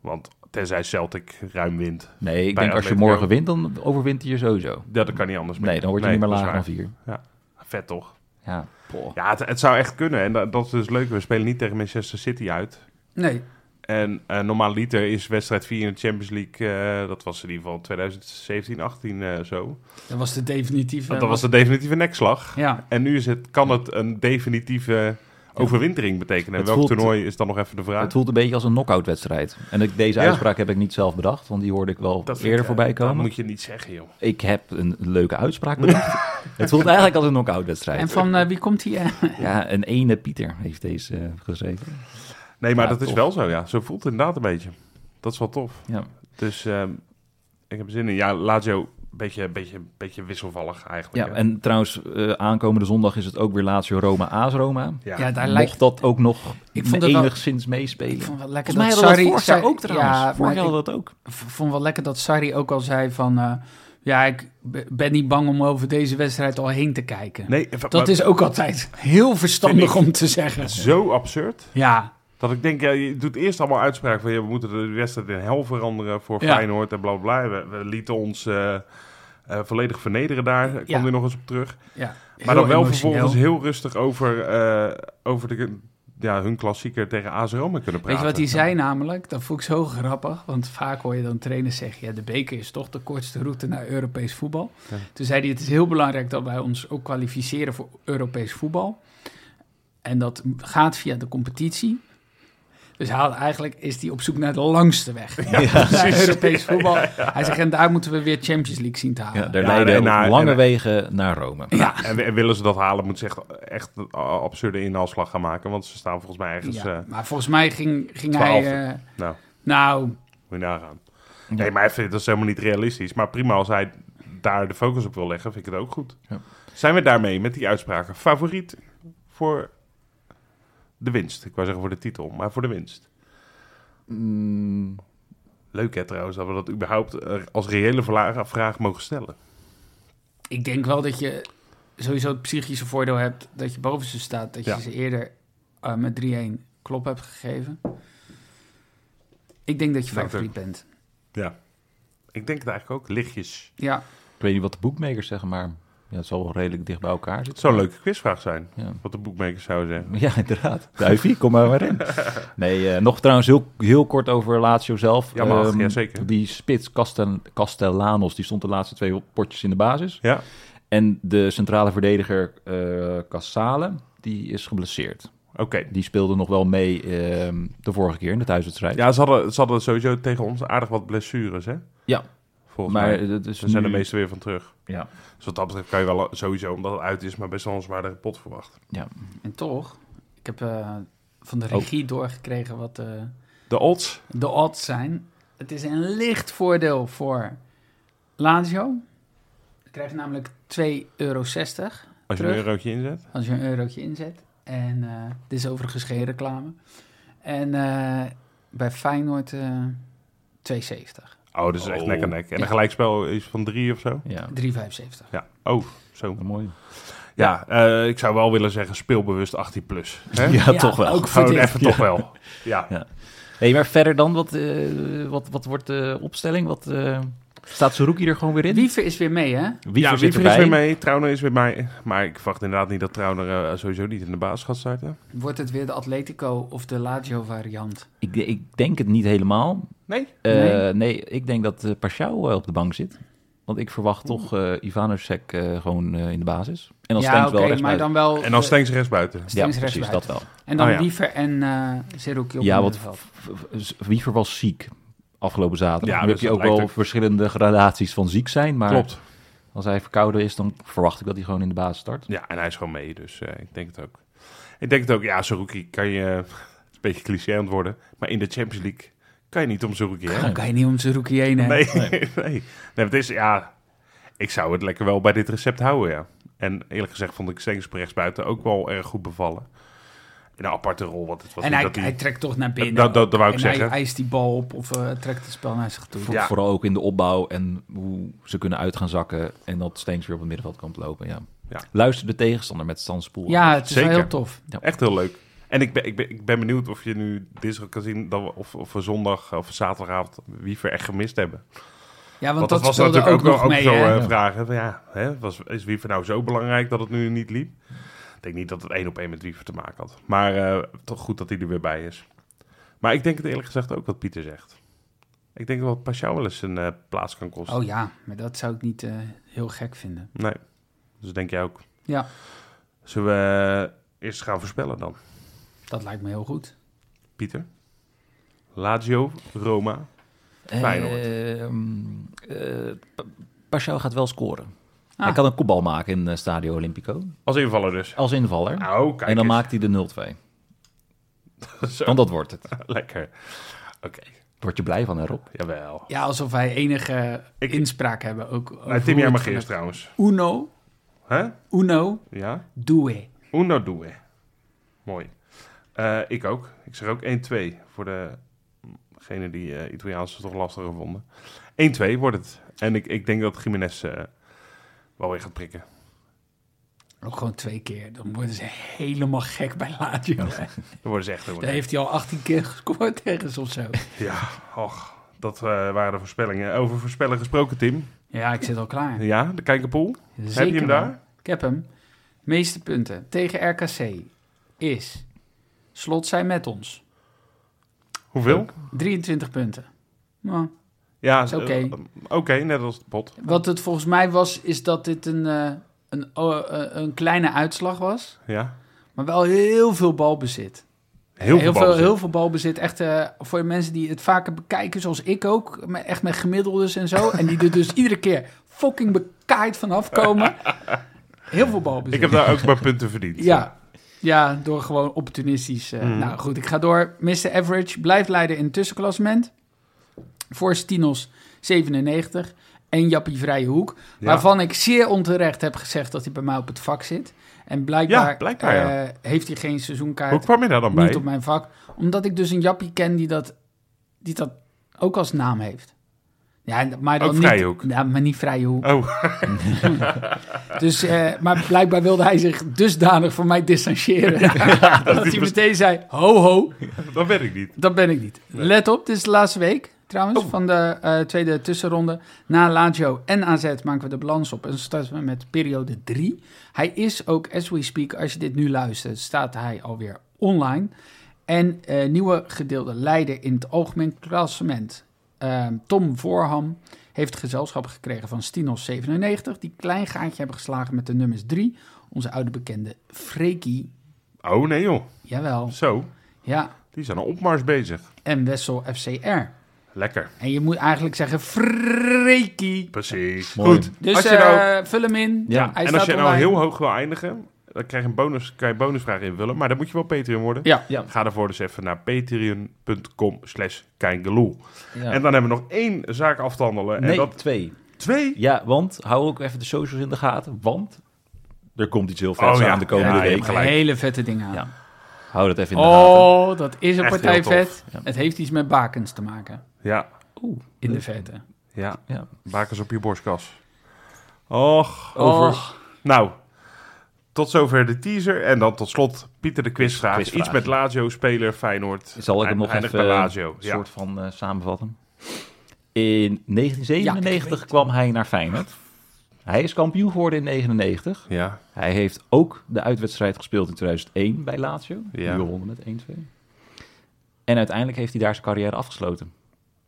S1: Want tenzij Celtic ruim wint.
S2: Nee, ik
S1: Bij
S2: denk als je
S1: Atletico.
S2: morgen wint, dan overwint hij je sowieso.
S1: Ja, dat kan niet anders meer.
S2: Nee, dan word je niet meer
S1: dat is
S2: lager dan
S1: waar.
S2: vier.
S1: Vet toch?
S2: Ja, poh.
S1: Ja, het, het zou echt kunnen. En dat, dat is dus leuk. We spelen niet tegen Manchester City uit.
S3: Nee.
S1: En eh normaal liter is wedstrijd 4 in de Champions League, eh, dat was in ieder geval 2017, 18 eh, zo.
S3: dat was de definitieve.
S1: Dat was de definitieve nekslag.
S3: Ja.
S1: En nu is het, kan het een definitieve overwintering betekenen. En
S2: Het
S1: welk
S2: voelt-
S1: toernooi is dan nog even de vraag?
S2: Het voelt een beetje als een knock-out-wedstrijd. En ik, deze
S1: Ja.
S2: uitspraak heb ik niet zelf bedacht, want die hoorde ik wel
S1: Dat vind
S2: eerder
S1: ik, eh,
S2: voorbij
S1: Dat
S2: komen.
S1: moet je niet zeggen, joh.
S2: Ik heb een leuke uitspraak bedacht. het voelt eigenlijk als een
S3: En
S2: knock-out-wedstrijd.
S3: van eh, wie komt die? eh?
S2: Ja, een ene Pieter heeft deze eh, geschreven.
S1: Nee, maar
S2: Ja,
S1: dat is
S2: tof.
S1: wel zo, ja. Zo voelt het inderdaad een beetje. Dat is wel tof.
S2: Ja.
S1: Dus ehm, ik heb er zin in. Ja, Lazio beetje, beetje, beetje wisselvallig eigenlijk.
S2: Ja,
S1: hè.
S2: en trouwens, eh, aankomende zondag is het ook weer Lazio Roma AS Roma.
S1: Ja.
S3: Ja, daar
S2: Mocht
S3: lijkt...
S2: dat ook nog
S3: Ik vond het wel-
S2: enigszins meespelen.
S3: Ik vond wel lekker
S2: Volgens mij
S3: dat
S2: hadden we
S3: Sarri...
S2: dat vorig jaar ook
S3: Sarri-
S2: trouwens.
S3: Ja,
S2: vorig
S3: maar
S2: jaar
S3: ik
S2: hadden we dat ook.
S3: v- vond wel lekker dat Sarri ook al zei van... eh, ja, ik b- ben niet bang om over deze wedstrijd al heen te kijken.
S1: Nee,
S3: Dat is ook altijd heel verstandig
S1: Vind
S3: om te zeggen.
S1: zo absurd.
S3: Ja,
S1: Dat ik denk, ja, je doet eerst allemaal uitspraken van... Ja, we moeten de wedstrijd in hel veranderen voor
S3: Ja.
S1: Feyenoord en bla bla. bla. We, we lieten ons eh, eh, volledig vernederen daar. Daar kwam
S3: Ja.
S1: hij nog eens op terug.
S3: ja.
S1: Maar dan
S3: Heel
S1: wel
S3: emotioneel.
S1: vervolgens heel rustig over, eh, over de, ja, hun klassieker tegen AS Roma kunnen praten.
S3: Weet je wat hij zei namelijk? Dat vond ik zo grappig. Want vaak hoor je dan trainers zeggen... ja, de beker is toch de kortste route naar Europees voetbal.
S1: Ja.
S3: Toen zei hij, het is heel belangrijk dat wij ons ook kwalificeren voor Europees voetbal. En dat gaat via de competitie. Dus hij had- eigenlijk is hij op zoek naar de langste weg. naar Europees voetbal. Hij zegt, en daar moeten we weer Champions League zien te halen.
S2: Ja,
S3: Ja, nou,
S1: Ja,
S2: daar leiden
S1: en
S2: op
S1: naar-
S2: lange
S1: en-
S2: wegen naar Rome.
S1: En, en willen ze dat halen, moeten ze echt, echt een a- absurde inhaalslag gaan maken. Want ze staan volgens mij ergens... eh,
S3: maar volgens mij ging, ging hij...
S1: twaalfde.
S3: eh,
S1: nou,
S3: nou,
S1: moet je nagaan. Nee, maar hij vindt dat is helemaal niet realistisch. Maar prima, als hij daar de focus op wil leggen, vind ik het ook goed.
S2: Ja.
S1: Zijn we daarmee met die uitspraken favoriet voor de winst? Ik wou zeggen voor de titel, maar voor de winst.
S2: Mm,
S1: Leuk hè trouwens, dat we dat überhaupt eh, als reële vla- vraag mogen stellen.
S3: ik denk wel dat je sowieso het psychische voordeel hebt dat je boven ze staat. Dat
S1: Ja.
S3: je ze eerder eh, met 3-1 klop hebt gegeven. Ik denk dat je
S1: Denk het
S3: favoriet bent.
S1: Ja. Ik denk het eigenlijk ook. Lichtjes.
S3: Ja,
S2: ik weet niet wat de boekmakers zeggen, maar ja, het zal wel redelijk dicht bij elkaar
S1: Het
S2: zitten.
S1: zou een leuke quizvraag zijn,
S2: Ja.
S1: wat de boekmakers zouden zeggen.
S2: Ja, inderdaad. Duivie, kom maar maar in. Nee, eh, nog trouwens heel, heel kort over Lazio zelf.
S1: Ja, mag.
S2: Ehm,
S1: Ja, zeker.
S2: Die spits Castel, Castellanos, die stond de laatste twee potjes in de basis.
S1: Ja,
S2: En de centrale verdediger eh Casale, die is geblesseerd.
S1: oké.
S2: Die speelde nog wel mee ehm, de vorige keer in de thuiswedstrijd.
S1: Ja, ze hadden, ze hadden sowieso tegen ons aardig wat blessures, hè?
S2: Ja.
S1: Volgens
S2: maar
S1: mij.
S2: eh, dat is
S1: Ze zijn
S2: nu-
S1: er meestal weer van terug.
S2: Ja.
S1: Dus wat dat betreft kan je wel sowieso, omdat het uit is, maar best wel een zwaardere pot verwachten.
S3: en toch. Ik heb eh, van
S1: Oh.
S3: de regie doorgekregen wat eh,
S1: De odds?
S3: de odds zijn. Het is een licht voordeel voor Lazio. Je krijgt namelijk 2,60 euro
S1: Als je
S3: Terug.
S1: een eurotje inzet.
S3: als je een eurotje inzet. En eh, dit is overigens geen reclame. En eh, bij Feyenoord eh 2,70.
S1: Oh, dat is echt
S2: Oh.
S1: nek aan nek. En
S3: Ja.
S1: een gelijkspel is van drie of zo?
S2: Ja,
S3: 3,75.
S1: Ja. Oh, zo.
S2: mooi.
S1: Ja, eh, ik zou wel willen zeggen speelbewust 18 plus. Hè?
S2: Ja, toch wel.
S3: Ook voor
S1: Gewoon
S3: dit.
S1: even toch wel. Ja.
S2: Hey, maar verder dan, wat, eh, wat, wat wordt de opstelling? Wat, eh, staat Saruki er gewoon weer in?
S3: Wiever is weer mee, hè?
S2: Wie
S1: ja,
S2: zit
S1: Wiever is weer
S2: erbij?
S1: mee, Trauner is weer mee. Maar ik verwacht inderdaad niet dat Trauner eh, sowieso niet in de baas gaat starten.
S3: Wordt het weer de Atletico of de Lazio variant?
S2: Ik, ik denk het niet helemaal.
S1: Nee?
S2: Eh,
S3: Nee?
S2: nee. ik denk dat eh Pashao wel op de bank zit. Want ik verwacht toch eh Ivanosek eh, gewoon eh, in de basis. En dan
S3: ja,
S2: Stenks
S3: oké,
S2: wel
S3: maar
S2: rechtsbuiten.
S3: dan wel...
S1: En dan
S3: de-
S1: Stenks rechts buiten.
S2: Ja,
S3: Stenks
S2: precies, dat
S3: rechtsbuiten.
S2: wel.
S3: En dan
S1: Oh, ja.
S3: Wiever en eh Zerouki op
S2: Ja,
S3: het
S2: want
S3: middenveld.
S2: v- v- Wiever was ziek afgelopen
S1: Ja,
S2: zaterdag. nu
S1: dus
S2: heb je
S1: dat
S2: ook
S1: lijkt
S2: wel
S1: ook-
S2: verschillende gradaties van ziek zijn. Maar
S1: Klopt.
S2: als hij verkouden is, dan verwacht ik dat hij gewoon in de basis start.
S1: Ja, en hij is gewoon mee, dus eh, ik denk het ook. Ik denk het ook, ja, Saruki kan je... Het is een beetje cliché aan het worden, maar in de Champions Leaie kan je niet om Saruki, hè?
S3: Dan kan je niet om Zerouki heen, hè?
S1: Nee, nee. nee. maar het is, ja... Ik zou het lekker wel bij dit recept houden, ja. En eerlijk gezegd vond ik Stengs rechts buiten ook wel erg goed bevallen. In een aparte rol, want het was
S3: En
S1: niet
S3: hij,
S1: dat
S3: hij
S1: hij...
S3: trekt toch naar binnen.
S1: Dat- dat- dat wou ik
S3: en
S1: zeggen.
S3: hij eist die bal op of eh, trekt het spel naar zich toe.
S2: Vo-
S1: Ja.
S2: Vooral ook in de opbouw en hoe ze kunnen uit gaan zakken. En dat Stenks weer op het middenveld kan lopen. Ja.
S1: Ja.
S2: Luister de tegenstander met Stanspoel.
S3: Ja, het is wel
S1: Zeker.
S3: heel tof.
S1: Echt heel leuk. En ik ben, ik, ben, ik ben benieuwd of je nu dinsdag kan zien... Dat we, of, of we zondag of zaterdagavond Wiever echt gemist hebben.
S3: Ja, want,
S1: Want,
S3: dat,
S1: dat, was
S3: speelde
S1: natuurlijk ook,
S3: ook nog
S1: ook
S3: mee,
S1: zo
S3: hè?
S1: eh, vragen. Van, ja, hè, was, is Wiever nou zo belangrijk dat het nu niet liep? Ik denk niet dat het één op één met Wiever te maken had. Maar eh, toch goed dat hij er weer bij is. Maar ik denk het eerlijk gezegd ook wat Pieter zegt. Ik denk dat Pashao wel eens een eh, plaats kan kosten.
S3: Oh ja, maar dat zou ik niet eh, heel gek vinden.
S1: Nee, dus denk jij ook.
S3: Ja,
S1: Zullen we eh, eerst gaan voorspellen dan,
S3: dat lijkt me heel goed.
S1: Pieter? Lazio, Roma.
S2: eh,
S1: Feyenoord.
S2: Uh, gaat wel scoren.
S3: Ah.
S2: Hij kan een kopbal maken in eh, Stadio Olimpico.
S1: Als invaller dus.
S2: Als invaller.
S1: Nou, kijk
S2: en dan
S1: eens.
S2: maakt hij de 0-2.
S1: Zo,
S2: Want dat wordt het.
S1: lekker. Oké.
S2: Word je blij van, hè, Rob?
S1: Jawel.
S3: Ja, alsof wij enige
S1: Ik-
S3: inspraak hebben ook. over
S1: Nou, Tim,
S3: hoe
S1: jij
S3: het
S1: mag
S3: gaat.
S1: eerst trouwens.
S3: Uno,
S1: Hè?
S3: uno,
S1: Ja?
S3: due.
S1: Uno due. Mooi. Eh, ik ook. Ik zeg ook 1-2 voor de- degene die eh Italiaans toch lastiger vonden. 1-2 wordt het. En ik, ik denk dat Jiménez eh, wel weer gaat prikken.
S3: Ook gewoon twee keer. Dan worden ze helemaal gek bij Lazio.
S1: Dan worden ze echt heel
S3: Daar heeft hij al 18 keer gescoord ergens of zo.
S1: Ja, och, dat eh, waren de voorspellingen. Over voorspellen gesproken, Tim.
S3: Ja, ik zit al klaar.
S1: Ja, de kijkerpool.
S3: Zeker
S1: Heb je hem
S3: wel.
S1: daar?
S3: Ik heb hem. Meeste punten tegen RKC is... Slot zijn met ons.
S1: Hoeveel?
S3: 23 punten. Nou,
S1: Ja,
S3: Is oké.
S1: eh, eh, Oké, net als de pot.
S3: wat het volgens mij was, is dat dit een, eh, een, oh, eh, een kleine uitslag was.
S1: Ja.
S3: Maar wel heel veel balbezit.
S1: Heel, veel, ballen
S3: heel veel balbezit. Echt eh, voor mensen die het vaker bekijken, zoals ik ook. maar Echt met gemiddeldes en zo. en die er dus iedere keer fucking bekaaid vanaf komen. Heel veel balbezit.
S1: Ik heb daar ook mijn punten verdiend.
S3: Ja. Ja, door gewoon opportunistisch. eh,
S1: Mm.
S3: Nou goed, ik ga door. Mr. Average blijft leider in het tussenklassement. Voor Stinos 97 en Jappie Vrije Hoek.
S1: Ja.
S3: Waarvan ik zeer onterecht heb gezegd dat hij bij mij op het vak zit. En blijkbaar,
S1: Ja, blijkbaar, ja.
S3: eh, heeft hij geen
S1: Hoe
S3: seizoenkaart.
S1: kwam je daar dan bij?
S3: Niet op mijn vak. Omdat ik dus een jappie ken die dat, die dat ook als naam heeft. Ja, maar dan
S1: Ook
S3: niet,
S1: Vrijhoek?
S3: Ja, maar niet Vrijhoek.
S1: Oh,
S3: Dus, eh, maar blijkbaar wilde hij zich dusdanig van mij distancieren. dat hij meteen zei, ho ho,
S1: dat weet ik niet.
S3: dat ben ik niet. Let op, dit is de laatste week trouwens van de eh, tweede tussenronde. Na Lazio en AZ maken we de balans op en starten we met periode 3. Hij is ook, as we speak, als je dit nu luistert, staat hij alweer online. En eh, nieuwe gedeelde leider in het algemeen klassement. eh, Tom Voorham heeft gezelschap gekregen van Stinos 97, die klein gaatje hebben geslagen met de nummers 3. Onze oude bekende Freki.
S1: Oh nee joh,
S3: Jawel,
S1: zo.
S3: ja.
S1: Die zijn een opmars bezig.
S3: En Wessel FCR.
S1: Lekker,
S3: En je moet eigenlijk zeggen Freekie.
S1: precies.
S2: Mooi.
S1: Goed.
S3: Dus
S1: als je
S3: eh,
S1: nou,
S3: vul hem in.
S2: Ja,
S3: Hij
S1: en als
S3: staat
S1: je nou
S3: online.
S1: heel hoog wil eindigen, dan krijg je een bonus, kan je een bonusvraag invullen. Maar dan moet je wel Patreon worden.
S3: Ja,
S2: Ja.
S1: Ga daarvoor dus even naar patreon.com slash keingeloel.
S2: ja.
S1: En dan hebben we nog één zaak af te handelen. En
S2: nee,
S1: dat
S2: twee.
S1: twee.
S2: Ja, want hou ook even de socials in de gaten, want er komt iets heel vets
S1: Oh, ja.
S2: aan de komende
S1: Ja, je
S2: week.
S1: hebt gelijk.
S3: hele vette dingen aan.
S2: Ja. Hou dat even in de gaten.
S3: Oh, dat is een
S1: Echt
S3: partij
S1: heel tof.
S3: vet.
S2: Ja.
S3: Het heeft iets met bakens te maken.
S1: Ja,
S2: Oeh,
S3: In de vette.
S1: ja.
S2: ja.
S1: Bakens op je borstkas. Och.
S3: Oh.
S2: Over.
S3: Och,
S1: Nou, tot zover de teaser. En dan tot slot Pieter de quizvraag.
S2: Quizvraag.
S1: Iets met Lazio, speler, Feyenoord.
S2: Zal ik hem
S1: Eind-
S2: nog
S1: eindigt
S2: even
S1: bij
S2: een
S1: Lazio. Ja.
S2: soort van eh, samenvatten? In 1997 kwam hij naar Feyenoord. Hij is kampioen geworden in 99.
S1: ja.
S2: Hij heeft ook de uitwedstrijd gespeeld in 2001 bij Lazio.
S1: Ja.
S2: Die gewonnen met 1-2. En uiteindelijk heeft hij daar zijn carrière afgesloten.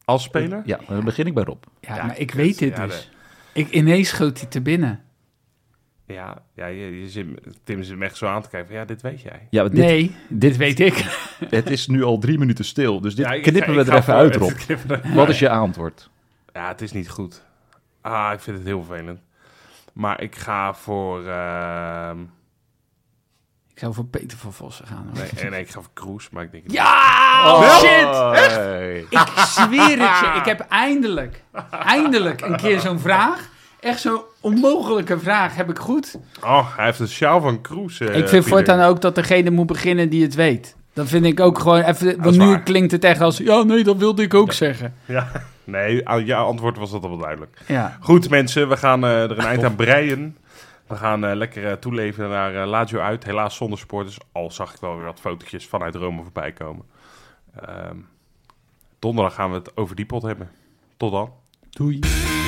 S1: Als speler?
S2: Ja, dan begin ik bij Rob.
S3: ja, maar ik weet dit
S1: Ja,
S3: dus. Ik, ineens schoot hij te binnen.
S1: Ja, ja je, je zit, Tim zit me echt zo aan te kijken. van, Ja, dit weet jij.
S2: Ja, dit,
S3: Nee, dit weet ik.
S2: het is nu al drie minuten stil, dus dit
S1: Ja, ik-
S2: knippen we
S1: ik
S2: er
S1: ga
S2: even
S1: voor-
S2: uit, Rob.
S1: knippen er-
S2: Wat is je antwoord?
S1: Ja, het is niet goed. Ah, ik vind het heel vervelend. Maar ik ga voor... ehm,
S3: Ik zou voor Peter van Vossen gaan. hoor.
S1: nee, eh, nee, ik ga voor Kroes, maar ik denk... het niet.
S3: Ja, Oh, shit!
S2: Oh, Echt?
S3: Ik zweer het je, ik heb eindelijk, eindelijk een keer zo'n vraag. Echt zo'n onmogelijke vraag heb ik goed.
S1: Oh, hij heeft een sjaal van Kroes. eh,
S3: ik vind
S1: Pieter.
S3: voortaan ook dat degene moet beginnen die het weet. Dat vind ik ook gewoon even... Want
S1: is
S3: nu
S1: waar.
S3: klinkt het echt als... Ja, nee, dat wilde ik ook zeggen.
S1: Ja, nee, aan jouw antwoord was dat al wel duidelijk.
S3: Ja.
S1: Goed mensen, we gaan eh, er een eind aan breien. We gaan eh, lekker eh, toeleveren naar eh, Lazio uit. Helaas zonder supporters, al zag ik wel weer wat fotootjes vanuit Rome voorbij komen. Ehm, donderdag gaan we het over die pot hebben. Tot dan.
S3: Doei.